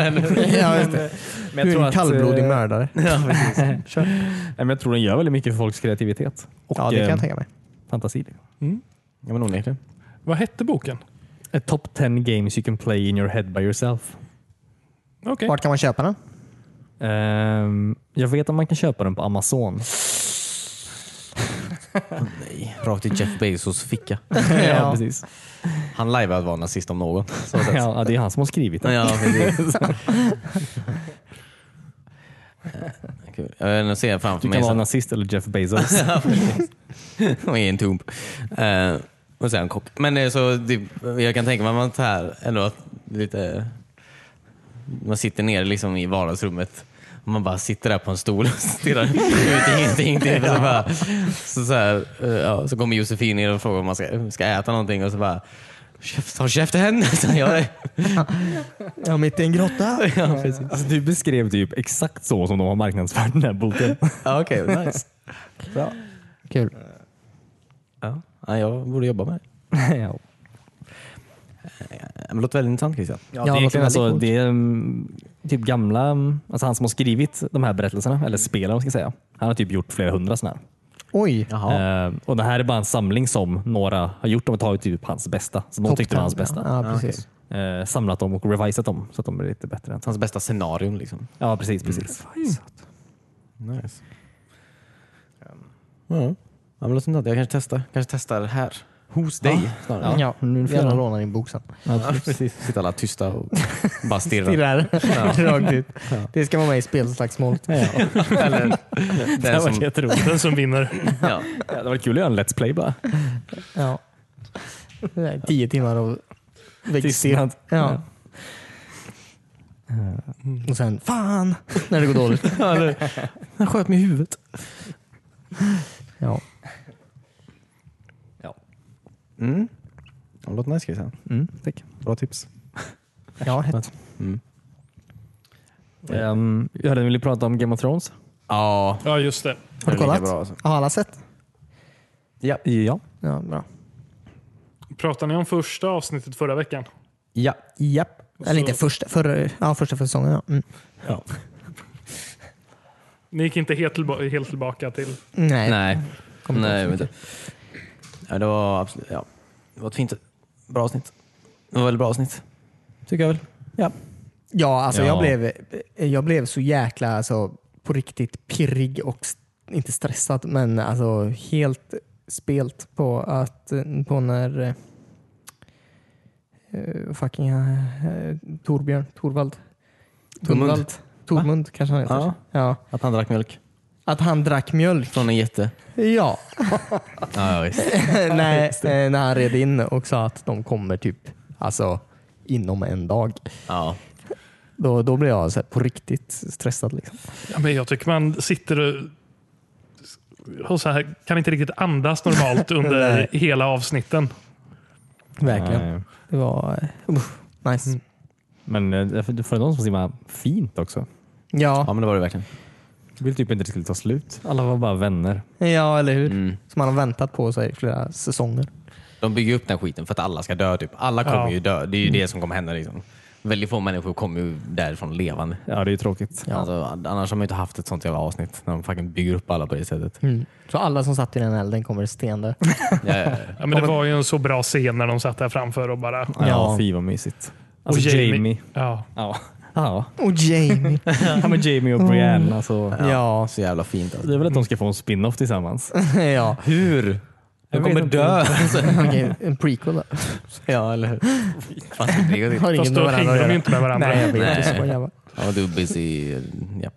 ja, just det.
Men
Du är en kallblodig
eh,
mördare.
Ja, precis.
nej, men jag tror den gör väldigt mycket för folks kreativitet och
Ja, det kan
eh,
jag tänka mig.
fantasi.
Ja, men onekligen.
Vad hette boken?
A top 10 games you can play in your head by yourself.
Okej.
Vart kan man köpa den?
Ehm, jag vet att man kan köpa den på Amazon.
Rakt i Jeff Bezos ficka.
ja, precis.
Han lajvar att vara nazist om någon. Så sätt.
Ja, det är han som har skrivit den.
Ja, precis. Eh, Kul. Jag nu ser jag framför
Du
mig
kan vara
så-
nazist eller Jeff Bezos.
och är en tump. Eh, och sen kock. Men eh, så, det, jag kan tänka mig att man så här, ändå att lite, man sitter nere liksom i vardagsrummet och man bara sitter där på en stol och stirrar ut i ingenting. Typ, och så, bara, så, så, här, eh, ja, så kommer Josefin ner och frågar om man ska, ska äta någonting och så bara "Käft- Håll käften henne! Så gör det.
Ja, mitt i en grotta.
Alltså, du beskrev typ exakt så som de har marknadsfört den här boken.
Ja, Okej, nice.
Kul.
Ja, ja, jag borde jobba med det.
ja.
Ja, Men det låter väldigt intressant Christian.
Ja, det är
låter
egentligen alltså,
väldigt
det är mm, typ gamla, mm, alltså han som har skrivit de här berättelserna, eller spelen om man ska säga. Han har typ gjort flera hundra sådana
Oj.
Jaha.
här. Eh, och det här är bara en samling som några har gjort. De har tagit typ hans bästa, som de
Topp
tyckte var hans
10.
bästa.
Ja, precis.
Eh, samlat dem och revisat dem så att de blir lite bättre. Än så.
Hans bästa scenarion liksom.
Ja, precis. precis.
Nice. Ja, men låter intressant. Jag kanske testar. Kanske testar här. Hos dig snarare.
Ja, nu får
Ja.
jag låna din bok sen.
Ja, precis.
Sitter alla tysta och bara stirrar.
Stirrar rakt ut. Det ska vara med i spelslagsmålet.
Eller
Det
den
hade varit
som,
jätteroligt.
Den som vinner.
ja.
Det hade varit kul att göra en Let's Play bara.
Ja. Det är Tio timmar av
Tystnad.
växtstirrat. Ja. Eh, Och sen fan när det går dåligt.
Han sköt mig i huvudet.
Ja.
Mm. Ja, låter nice Christian.
Mm.
Tack. Bra tips.
Ja,
Um, jag hade velat prata om Game of Thrones.
Ja.
Ja, just det.
har du
Det är lika
kollat?
bra, alltså.
Har alla sett?
Ja.
Ja.
Ja, bra.
Pratade ni om första avsnittet förra veckan?
ja.
Japp. Eller inte första, förra, ja, första för säsongen. Ja. Mm.
Ni gick inte helt, tillba- helt tillbaka till...
Nej.
Nej.
Kommer inte
Nej,
ihåg så
men det, ja, det var absolut... Ja. Det var ett fint... Bra avsnitt. Det var väldigt bra avsnitt. Tycker jag väl. Ja.
Ja, alltså
Ja.
Jag, blev, jag blev så jäkla alltså, på riktigt pirrig och st- inte stressad men alltså helt spelt på att på när eh, eh, fucking eh, Torbjörn, Torvald.
Tormund.
Torvald. Tormund kanske han heter.
Ja.
Ja.
Att han drack mjölk.
Att han drack mjölk.
Från en jätte.
Ja.
Ja, visst.
Nej, eh, när han red in och sa att de kommer typ alltså inom en dag.
Ja.
Då, då blev jag så här, på riktigt stressad. Liksom.
Ja, men jag tycker man sitter och, och så här, kan inte riktigt andas normalt under hela avsnitten.
Verkligen.
Nej.
Det var eh, uff, nice.
Men eh, det var för någon som simmade fint också.
ja,
Ja.
men det var det verkligen.
Jag ville typ inte det skulle ta slut. Alla var bara vänner.
ja, eller hur?
Mm.
Som man har väntat på sig i flera säsonger.
De bygger upp den skiten för att alla ska dö. Typ. Alla kommer
Ja.
ju dö. Det är ju det som kommer hända. Liksom. Väldigt få människor kommer ju därifrån levande.
Ja, det är ju tråkigt.
Alltså, annars har man ju inte haft ett sånt jävla avsnitt när de fucking bygger upp alla på det sättet.
Så alla som satt i den elden kommer sten där.
Ja, ja, ja.
Ja, men det var ju en så bra scen när de satt där framför och bara...
Ja,
Ja.
fy vad mysigt. Alltså
och
Jamie.
Ja.
Ja. Ja.
Och Jamie.
ja, men Jamie och Brienne. Alltså,
ja.
Så jävla fint. Alltså.
Det är väl att de ska få en spin-off tillsammans.
ja.
Hur?
Jag
De
vet
kommer
inte.
dö. Alltså,
Okej, en prequel då.
ja, eller hur? Fast det är
Har
ju-
inget
Fast
med
då
varandra
hänger de
att
ju
göra.
inte med varandra.
Nej, jag vet.
Nej.
Det är så jävla.
Ja, du är busy. Ja.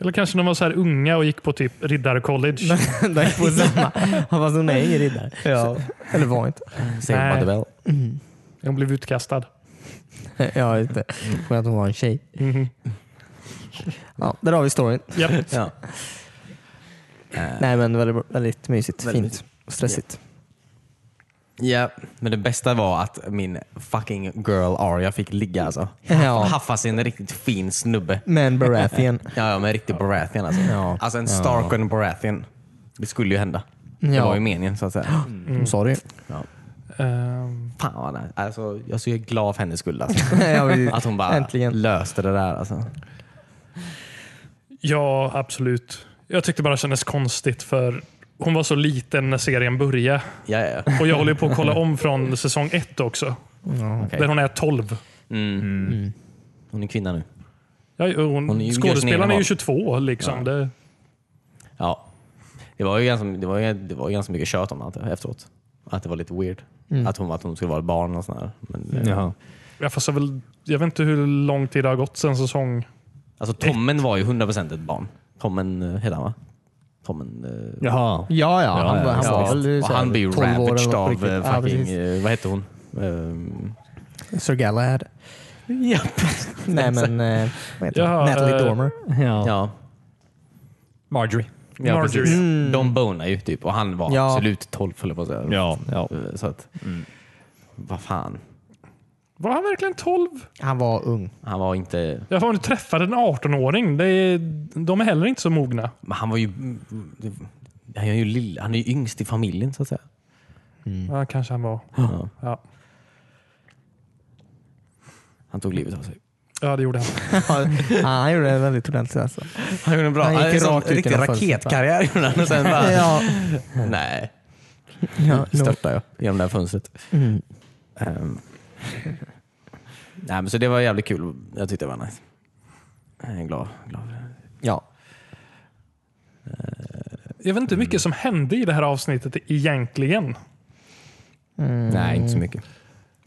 Eller kanske de var så här unga och gick på typ riddarcollege.
De är på samma. Han var som nej, ingen riddare. Ja. Eller var inte.
Saved by
Nej.
the bell.
De blev utkastad.
Ja, inte. Men att hon var en tjej.
Mhm.
Ja, där har vi storyn.
Japp.
Ja.
Nej, men väldigt, bra- väldigt mysigt.
Väldigt
Fint. och Stressigt.
ja, men det bästa var att min fucking girl Arya fick ligga alltså.
Ja.
Haffa sig en riktigt fin snubbe.
Men Baratheon.
Ja, ja men riktig Baratheon alltså.
Ja.
Alltså en Stark och en Baratheon. Det skulle ju hända. Det
Ja.
var ju meningen så att säga.
Mm. Sorry.
Ja.
Ehm,
Fan vad nice. alltså, Jag är så glad för hennes skull. Alltså.
Ja, vi-
Att hon bara
Äntligen.
löste det där. Alltså.
ja, absolut. Jag tyckte bara det kändes konstigt för hon var så liten när serien började.
Ja, ja, ja.
Och jag håller ju på att kolla om från säsong ett också.
Okej.
Där hon är 12.
Hon är kvinna nu.
Ja, hon,
Hon är ju- gör sin egen
skådespelaren är ju
val.
22. Liksom. Det,
Ja. Det var ju ganska, det var, ju- det var ju ganska mycket tjat om allt det efteråt. Att det var lite weird.
Mm.
Att, hon, att hon skulle vara ett barn och sådär. Men, eh,
Jaha.
jag, fast jag, väl, jag vet inte hur lång tid det har gått sedan säsong...
Alltså Tommen var ju 100% ett barn. Tommen eh, hette han va? Tommen... eh,
Jaha.
Ja, ja. Han,
ja,
han var väl
och
så här
han blir ju
12 år eller något
ravaged av
riktigt.
eh,
Ja,
fucking...
precis.
eh, vad hette hon? Um,
Sir Galahad.
Japp.
Nej, men eh, vad heter
Jaha,
hon? Natalie
eh,
Dormer.
Ja.
Ja.
Marjorie.
Ja,
Marjorie.
precis. De bonar ju typ och han var
Ja.
absolut 12 höll jag på att säga.
Ja, ja.
Så att, vad fan.
Var han verkligen 12?
Han var ung.
Han var inte,
Jag har nu träffat en 18-åring. Det är, de är heller inte så mogna.
men han var ju, han är ju, lill, han är ju yngst i familjen så att säga.
Ja, kanske han var.
Mm. Ja.
Ja,
Han tog livet av sig.
ja det gjorde han.
Ja, han gjorde det väldigt ordentligt alltså.
Han gjorde en bra,
Han gick
han
rakt
gick rakt
ut genom
riktig
fönstret, va?
raketkarriär gjorde han och sen bara,
Ja,
nej,
ja, no.
störtade jag genom det här fönstret. Ehm. nej, men så det var jävligt kul. Jag tyckte det var nice. Jag är glad, glad för det.
ja.
Jag vet inte hur mycket som hände i det här avsnittet egentligen.
Mm.
Nej, inte så mycket.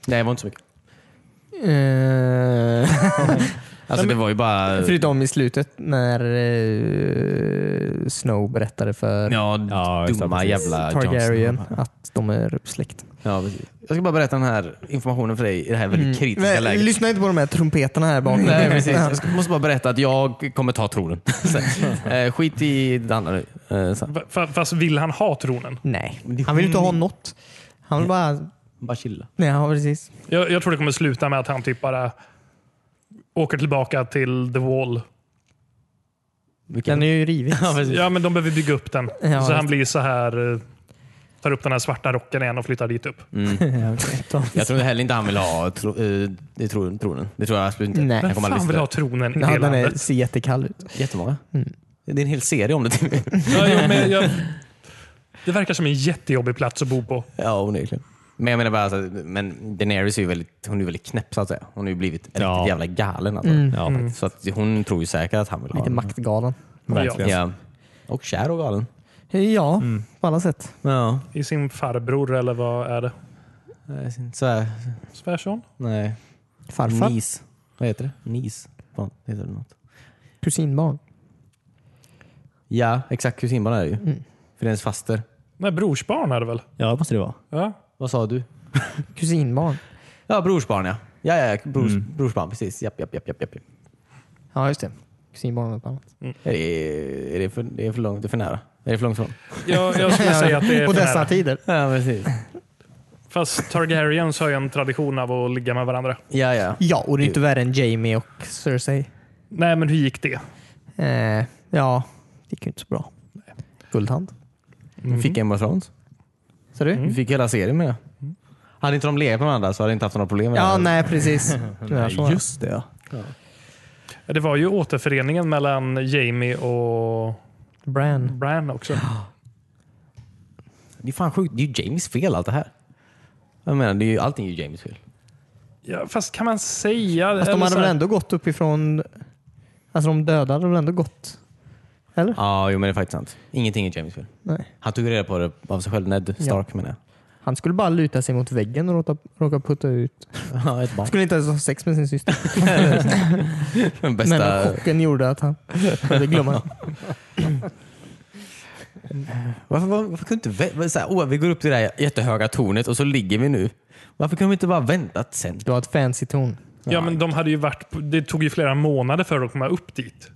Nej, det var inte så mycket.
Eh,
Alltså det var ju bara...
Förutom i slutet när eh, Snow berättade för
Ja,
Ja, just det,
dumma
precis.
jävla
Targaryen
Johnson.
att de är släkt.
Ja, precis. jag ska bara berätta den här informationen för dig i det här väldigt kritiska
Men
läget.
Mm. Lyssna inte på de här trumpeterna här bakom.
Nej, precis. Jag ska- måste bara berätta att jag kommer ta tronen. Så, eh, Skit i det andra nu. Eh, så.
F- f- Fast vill han ha tronen?
Nej, han vill inte ha något. Han vill
Mm.
bara...
Bara chilla.
Nej, ja, precis.
Jag, jag tror det kommer sluta med att han typ bara åker tillbaka till The Wall.
Den är ju rivit.
Ja, men de behöver bygga upp den.
Ja,
så
just
han
det.
blir så här... eh, Tar upp den här svarta rocken igen och flyttar dit upp.
Mm. Jag tror heller inte han vill ha tro, eh, i tro, tronen. Det tror jag absolut inte.
Nej.
Han
Vem
kommer
fan
aldrig
vill ha
lyssna.
tronen i
Ja,
det
den är,
landet?
ser jättekall ut.
Jättemånga. Det är en hel serie om det. Timmy.
Ja, jo, men jag, det verkar som en jättejobbig plats att bo på.
ja, onekligen. Men jag menar bara, alltså, men Daenerys är ju väldigt, hon är ju väldigt knäpp så att säga. Hon har ju blivit riktigt
Ja.
jävla galen. Alltså.
Mm.
Ja,
Mm.
Så att hon tror ju säkert att han vill ha
Lite
den.
maktgalen.
verkligen.
Ja. Och kär och galen.
Ja,
Mm.
på alla sätt.
Ja.
I sin farbror, eller vad är det?
Eh, Så här,
Svärson?
nej.
Farfar.
Nis. Vad heter det? Nis. Vad Heter det något?
Kusinbarn.
Ja, exakt. Kusinbarn är det ju. För det är ens faster.
Nej, brorsbarn är det väl?
Ja, det måste det vara.
Ja.
Vad sa du?
Kusinbarn.
Ja, brorsbarn ja. Ja, ja, ja brors, brorsbarn. Precis. Japp, japp, japp, japp, japp. japp.
Ja, just det. Kusinbarn och annat.
Är det, är det, för, det är för långt? Det är för nära? Är det för långt från?
Jag, jag skulle säga att det är
På
för
dessa
nära.
tider.
Ja, precis.
Fast Targaryens har ju en tradition av att ligga med varandra.
Ja, ja.
Ja, och det är inte värre än Jamie och Cersei.
Nej, men hur gick det?
Eh, ja, det gick ju inte så bra. Guldhand.
Du fick Game of Thrones.
Ser du?
Du fick hela serien med det. Hade inte de legat med varandra så hade jag inte haft några problem med
Ja,
det.
nej precis. Tyvärr så var det.
Just det ja.
Det var ju återföreningen mellan Jamie och
Bran.
Bran också.
Det är fan sjukt. Det är ju James fel allt det här. Jag menar, det är ju, allting är ju James fel.
Ja, fast kan man säga...
Fast de
eller
hade
så här-
väl ändå gått uppifrån... Alltså de döda hade väl ändå gått? Eller?
Ja, jo men det är faktiskt sant. Ingenting är James fel.
Nej.
Han tog reda på det av sig själv. Ned Stark menar jag.
Han skulle bara luta sig mot väggen och råka, råka putta ut.
Ja, ett barn.
Skulle inte ens ha sex med sin syster.
Den
Men
bästa...
chocken gjorde att han... Det glömmer han.
Varför, var- varför kunde inte vä- så här, åh, vi går upp till det här jättehöga tornet och så ligger vi nu. Varför kunde vi inte bara väntat sen?
Det var ett fancy ton.
Ja, men de hade ju varit... på- Det tog ju flera månader för att komma upp dit.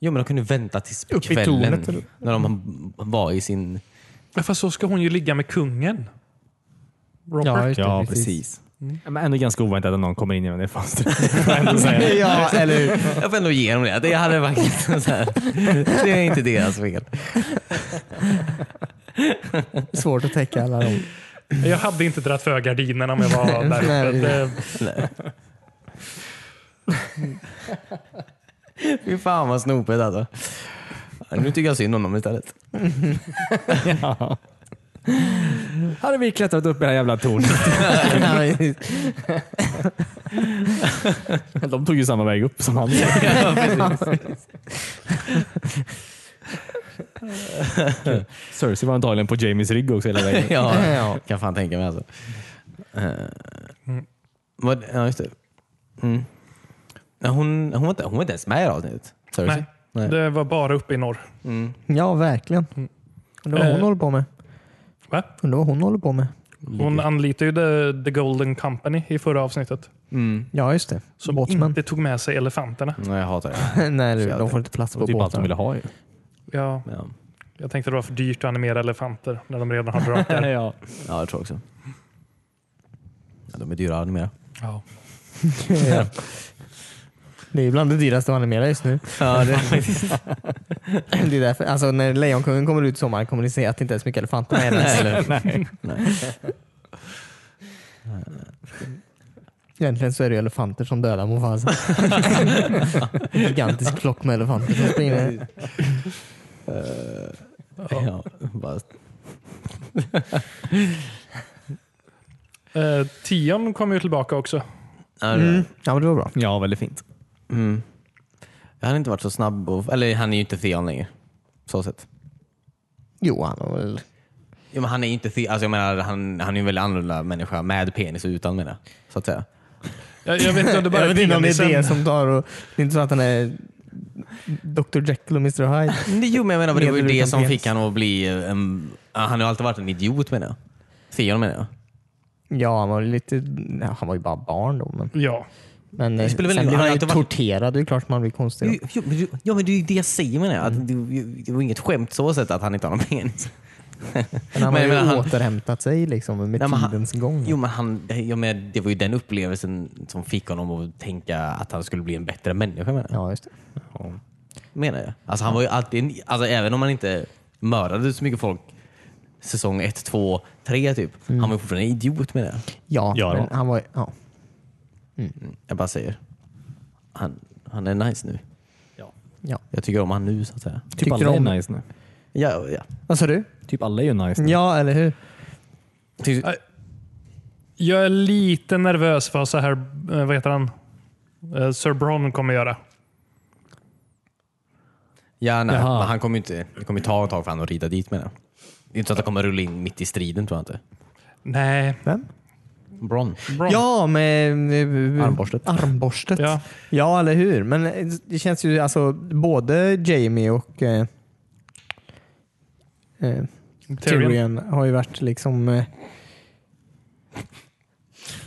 Jo, men de kunde vänta tills
Upp i
kvällen
tornet, eller?
när de var i sin...
Ja, Fast så ska hon ju ligga med kungen.
Ja,
Robert.
just det,
Ja, precis. Men ändå ganska oväntat att någon kommer in genom det fönstret. Får jag ändå säga.
Ja, eller hur?
Jag får ändå ge dem det. Det hade faktiskt så här, Det är inte deras fel.
Svårt att täcka alla de...
Jag hade inte dragit för gardinerna om jag var där uppe.
Nej.
Det,
Fy fan vad snopet alltså. Ja, Nu tycker jag synd om dem istället.
Ja. Hade vi klättrat upp i det här jävla tornet. De tog ju samma väg upp som han. Kul. Cersei var antagligen på Jamies rygg också hela vägen.
Ja,
Ja.
kan fan tänka mig alltså. Eh, vad, ja, just det. Mm. Nej, hon, hon, var inte, hon var inte ens med i det här avsnittet. Mm. Cersei.
nej, det var bara uppe i norr.
Ja, verkligen. Undrar vad hon
Eh.
håller på med.
Va?
Undrar vad hon håller på med.
Hon anlitar ju The, the Golden Company i förra avsnittet.
Ja, just det.
Som
Båtsman.
inte tog med sig elefanterna.
Mm. Nej, jag hatar det.
Nej, du, de får inte plats
Det
på
var typ allt de ville
båten.
ha ju.
Ja,
Ja,
jag tänkte det var för dyrt att animera elefanter när de redan har drakar.
Ja.
ja jag tror också. Ja, de är dyra att animera.
ja.
Det är bland det dyraste att animera just nu.
Ja, det,
Det är därför, alltså, när Lejonkungen kommer ut i sommar kommer ni se att det inte är så mycket elefanter med den.
eller,
Egentligen så är det ju elefanter som dödar Mufasa. En gigantisk flock med elefanter som springer. ner.
ja, bara,
Eh, Tion kom ju tillbaka också.
ja, det-
Mm. Ja, men det var bra.
ja, väldigt fint. Typ
Mm. Han har inte varit så snabb. Och, eller han är ju inte Theon längre. Så sett.
Jo, han har väl
Jo, men han är ju inte... thi- Alltså, jag menar, han, han är ju en väldigt annorlunda människa med penis och utan menar jag, Så att säga.
Jag, jag vet inte om det bara
Jag vet inte om det är
penisen.
det som tar och... Det är inte så att han är Dr Jekyll och Mr Hyde.
Men Mm, det- Jo, men jag menar, det var ju
Medel
det
utan
som
penis.
fick han att bli... eh, En, ah, han har ju alltid varit en idiot menar jag. Theon menar jag.
Ja, han var lite... nej, Han var ju bara barn då. Men,
Ja.
men eh,
spelar
sen
väl ingen-
blev
han har
han ju
alltid varit-
torterad. Det är ju klart man blir konstig. då.
Jo, jo, men du- Ja, men det är ju det jag säger menar jag. Att det, det var inget skämt så sätt att han inte har någon penis.
Men han
Men
har
jag
ju
menar, han-
återhämtat sig liksom med
Nej, men han-
tidens gång.
Jo, men han, jag menar, det var ju den upplevelsen som fick honom att tänka att han skulle bli en bättre människa menar jag.
Ja, just det.
menar jag. Alltså han var ju alltid, en- alltså även om han inte mördade så mycket folk säsong 1, 2, 3 typ. Han var ju fortfarande en idiot menar jag.
Ja,
Ja,
men
då.
han var ju... Ja.
Jag bara säger. Han, han är nice nu.
ja.
Jag tycker om han nu så att säga.
Typ
Tyckte
alla
du om-
är nice nu.
Ja, ja.
Vad sa du?
Typ alla är ju nice nu.
Ja, eller hur?
Ty-
Jag är lite nervös för vad så här, eh, vad heter han? Eh, Sir Bron kommer göra.
Ja, nej.
Jaha.
Men han kommer ju inte, det kommer ju ta ett tag för han att rida dit menar jag. Det är inte så att han kommer rulla in mitt i striden tror jag inte.
Nej.
Vem?
Bron.
Bron.
Ja, med... med-
Armborstet.
Armborstet.
Ja.
Ja. eller hur? Men eh, det känns ju alltså både Jamie och eh, eh,
Tyrion.
Tyrion har ju varit liksom eh,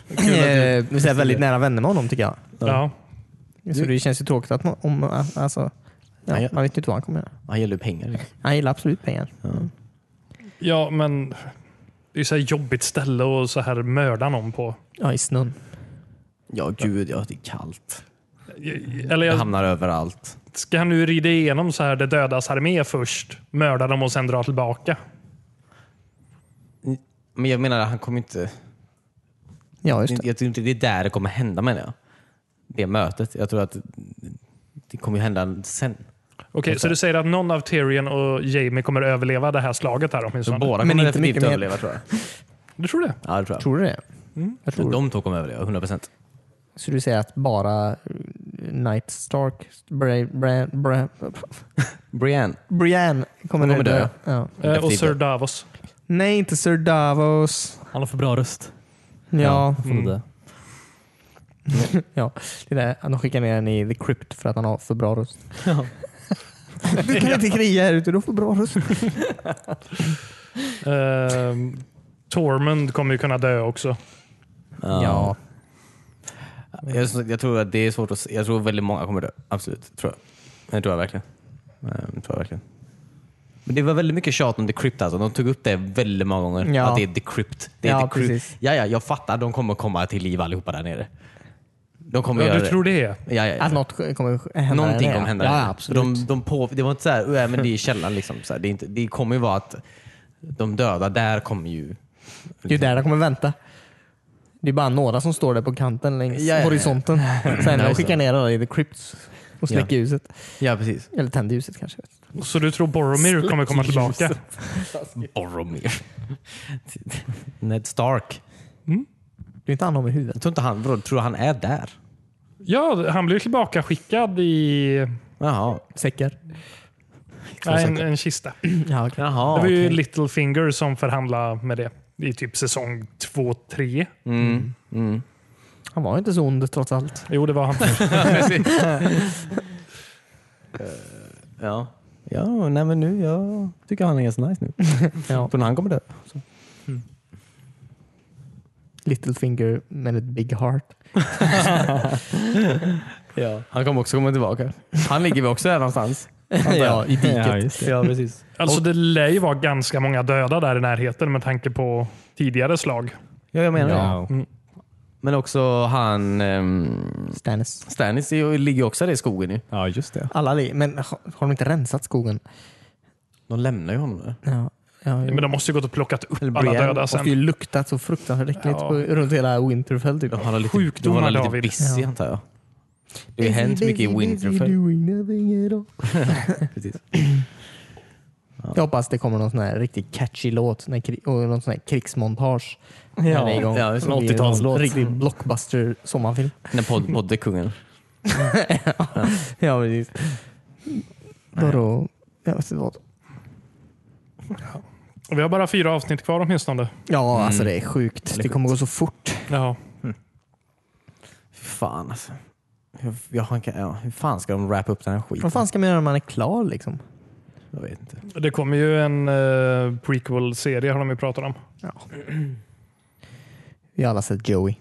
Kul att du-
eh, så här väldigt nära vänner med honom tycker jag.
Ja.
Så det känns ju tråkigt att man, om, alltså, ja,
Ja, ja.
man vet ju inte vad han kommer göra.
Han gäller ju pengar.
Han gillar absolut pengar.
ja, men det är ju så här jobbigt ställe och så här mörda någon på.
Ja, i snön.
Ja, gud ja. Det är kallt.
Eller
Det
jag,
hamnar överallt.
ska han nu rida igenom så här det dödas armé först, mörda dem och sen dra tillbaka?
Men jag menar, han kommer inte...
Ja, just
Det-
det.
Jag tror inte det är där det kommer hända menar jag. Det mötet. Jag tror att det kommer ju hända sen.
Okej, så du säger att någon av Tyrion och Jamie kommer överleva det här slaget här
Så
åtminstone?
båda
Men
kommer
inte
definitivt
mycket mer.
överleva tror jag.
Du tror det?
Ja, det tror jag.
Tror du det?
Mm.
Jag tror
De två kommer överleva, 100 procent.
Så du säger att bara eh, Night Stark, Bra, Bra, Bra,
Brienne.
Brienne kommer,
kommer dö.
Ja.
Eh, och
Definitivt.
Sir Davos.
Nej, inte Sir Davos.
Han har för bra röst.
Ja,
får
Mm.
du det.
ja. Det där, de skickar ner den i The Crypt för att han har för bra röst. du kan inte kriga här ute, du har för bra röst.
Eh, Tormund kommer ju kunna dö också.
Ja.
Jag, jag tror att det är svårt att se. Jag tror väldigt många kommer dö. Absolut. Tror jag. Det tror jag verkligen. Ehm, tror jag verkligen. Men det var väldigt mycket tjat om The Crypt alltså. De tog upp det väldigt många gånger.
Ja.
Att det är The Crypt. Det är
Ja,
The Crypt.
precis.
Ja, ja, jag fattar. De kommer komma till liv allihopa där nere. De kommer
Ja,
göra
du tror det?
det. Ja, ja, ja.
Att något kommer sk- hända.
Någonting
där,
kommer hända.
Ja,
där.
ja absolut.
De, de på, det var inte så här, "Ö, men det är källan. Liksom. Så här, det, är inte, det kommer ju vara att de döda där kommer ju...
Det är ju där de kommer vänta. Det är bara några som står där på kanten längs
Ja, ja, ja.
horisonten. Sen när
Ja,
de
just
skickar ner alla i The Crypt och släcker ljuset.
Ja, precis.
Eller tänder ljuset kanske.
Så du tror Boromir kommer komma tillbaka?
Boromir. Ned Stark.
Du är inte han om i huvudet.
Jag tror inte han, vadå, tror du han är där?
Ja, han blir tillbaka skickad i
Jaha.
Säckar.
nej, en, en kista. Det
Ja, okej.
Jaha.
var ju
okej.
Littlefinger som förhandlade med det i typ säsong två, tre.
Mm. Mm.
Han var inte så ond trots allt.
Jo, det var han.
Eh, ja. Ja, nej men nu, jag tycker han är ganska nice nu.
Ja.
För när han kommer dö. Så.
Littlefinger med ett big heart.
Han kommer också komma tillbaka. Han ligger väl också där någonstans?
ja, i
Ja,
diket.
just det.
Ja, precis.
Alltså det lär ju vara ganska många döda där i närheten med tanke på tidigare slag.
Ja, jag menar det.
Ja. Mm.
Men också han... ehm,
Stannis.
Stannis är ju- ligger ju också där i skogen nu.
ja, just det.
Alla li- men har, har de inte rensat skogen?
De lämnar ju honom där.
Ja. Ja, jo.
Men de måste ju gått och plockat upp
Eller
alla
Brienne
döda
måste ju
sen.
luktat så fruktansvärt äckligt
Ja.
på, runt hela Winterfell. Typ.
De har lite,
Sjukdomar,
de har lite
David.
busy
Ja.
antar jag. Det har ju hänt mycket i Winterfell.
Doing nothing at all.
Precis.
Jag hoppas det kommer någon sån här riktigt catchy låt när kri- och någon sån här krigsmontage. när det är igång.
ja, det är
Så
en
det blir någon
80-talslåt.
Riktigt blockbuster sommarfilm.
När podd, poddekungen.
Ja, precis. alltså, Bara... Jag vet inte vad.
Vi har bara fyra avsnitt kvar åtminstone.
Ja, alltså det är sjukt. Det kommer gå så fort.
Jaha.
Fy Fan alltså. Jag, jag, har en- ja, hur fan ska de wrapa upp den här skiten?
Vad fan ska man göra när man är klar liksom?
Jag vet inte.
Det kommer ju en eh, prequel-serie har de ju pratat om.
Vi har alla sett Joey.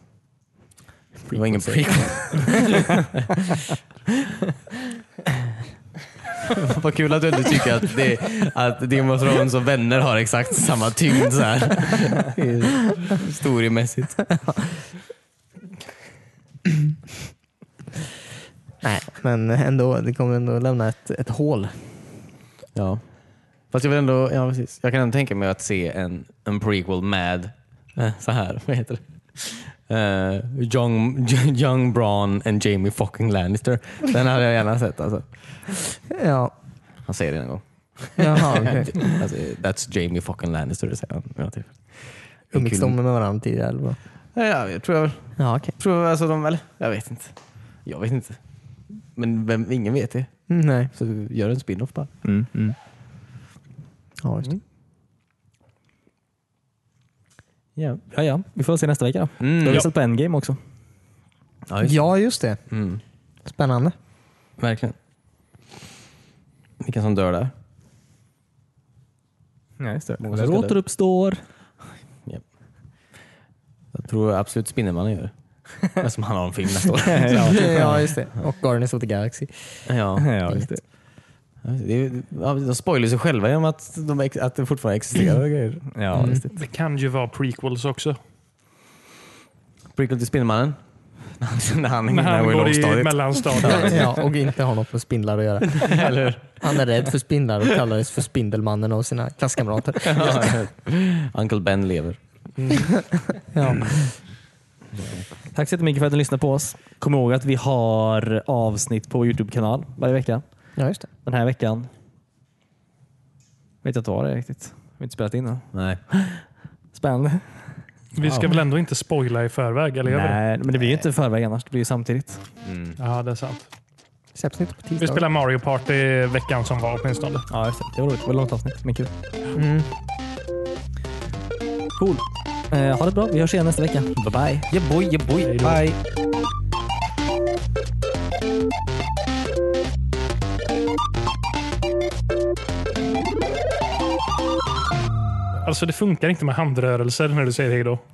Det var ingen prick. Vad kul att du inte tycker att, det, att Game of Thrones och vänner har exakt samma tyngd så här. Historiemässigt.
Nej, men ändå. Det kommer ändå lämna ett, ett hål.
Ja. Fast jag vill ändå, ja precis. Jag kan ändå tänka mig att se en, en prequel med, eh, så här, vad heter det? Eh, young, young Braun and Jamie fucking Lannister. Den hade jag gärna sett alltså.
Ja.
Han säger det en gång.
Jaha, okej.
Alltså, that's Jamie fucking Lannister, det säger han. Ja, typ.
Umgicks de med varandra tidigare eller vad?
Ja, jag tror jag väl.
Ja, okej.
Tror jag, alltså de, eller? Jag vet inte. Jag vet inte. Men vem, ingen vet det.
Mm, nej.
Så gör en spin-off bara.
Mm, mm.
Ja, just. det.
Ja, ja, ja. Vi får se nästa vecka då. Då har
Mm,
vi
Ja.
sett på Endgame också.
Ja, just det.
mm,
Spännande.
verkligen. Vilka som dör där.
Ja, just det.
Många som ska dö.
återuppstår.
Jag tror absolut Spindelmannen gör det. Som han har en film nästa år.
ja,
Ja, just det. Och Guardians of the Galaxy.
ja.
ja, just det.
Det är, ja, de spoilar sig själva genom att, de, ex- att det fortfarande existerar och grejer.
Ja, just det.
Det kan ju vara prequels också.
Prequel till Spindelmannen. när han,
När han går i
lågstadiet.
mellanstadiet.
Ja, och inte har något med spindlar att göra.
Eller hur?
Han är rädd för spindlar och kallades för Spindelmannen av sina klasskamrater.
Ja. Uncle Ben lever.
Ja.
Tack så jättemycket för att ni lyssnade på oss. Kom ihåg att vi har avsnitt på vår Youtube-kanal varje vecka.
ja, just det.
Den här veckan vet jag inte vad det är riktigt. Vi har inte spelat in än.
Nej.
Spännande.
Vi ska väl ändå inte spoila i förväg, eller gör vi det?
Nej, men det blir ju inte i förväg annars. Det blir ju samtidigt.
Ja, det är sant.
Släpps inte på
Vi
tisdag.
spelar Mario Party veckan som var åtminstone.
Ja, just det. Det var roligt. Det var ett långt avsnitt, men kul.
Mm.
Cool. Eh, ha det bra. Vi hörs igen nästa vecka. Bye bye. Yeah boy, yeah boy.
Hej då.
Bye.
Alltså det funkar inte med handrörelser när du säger hej då.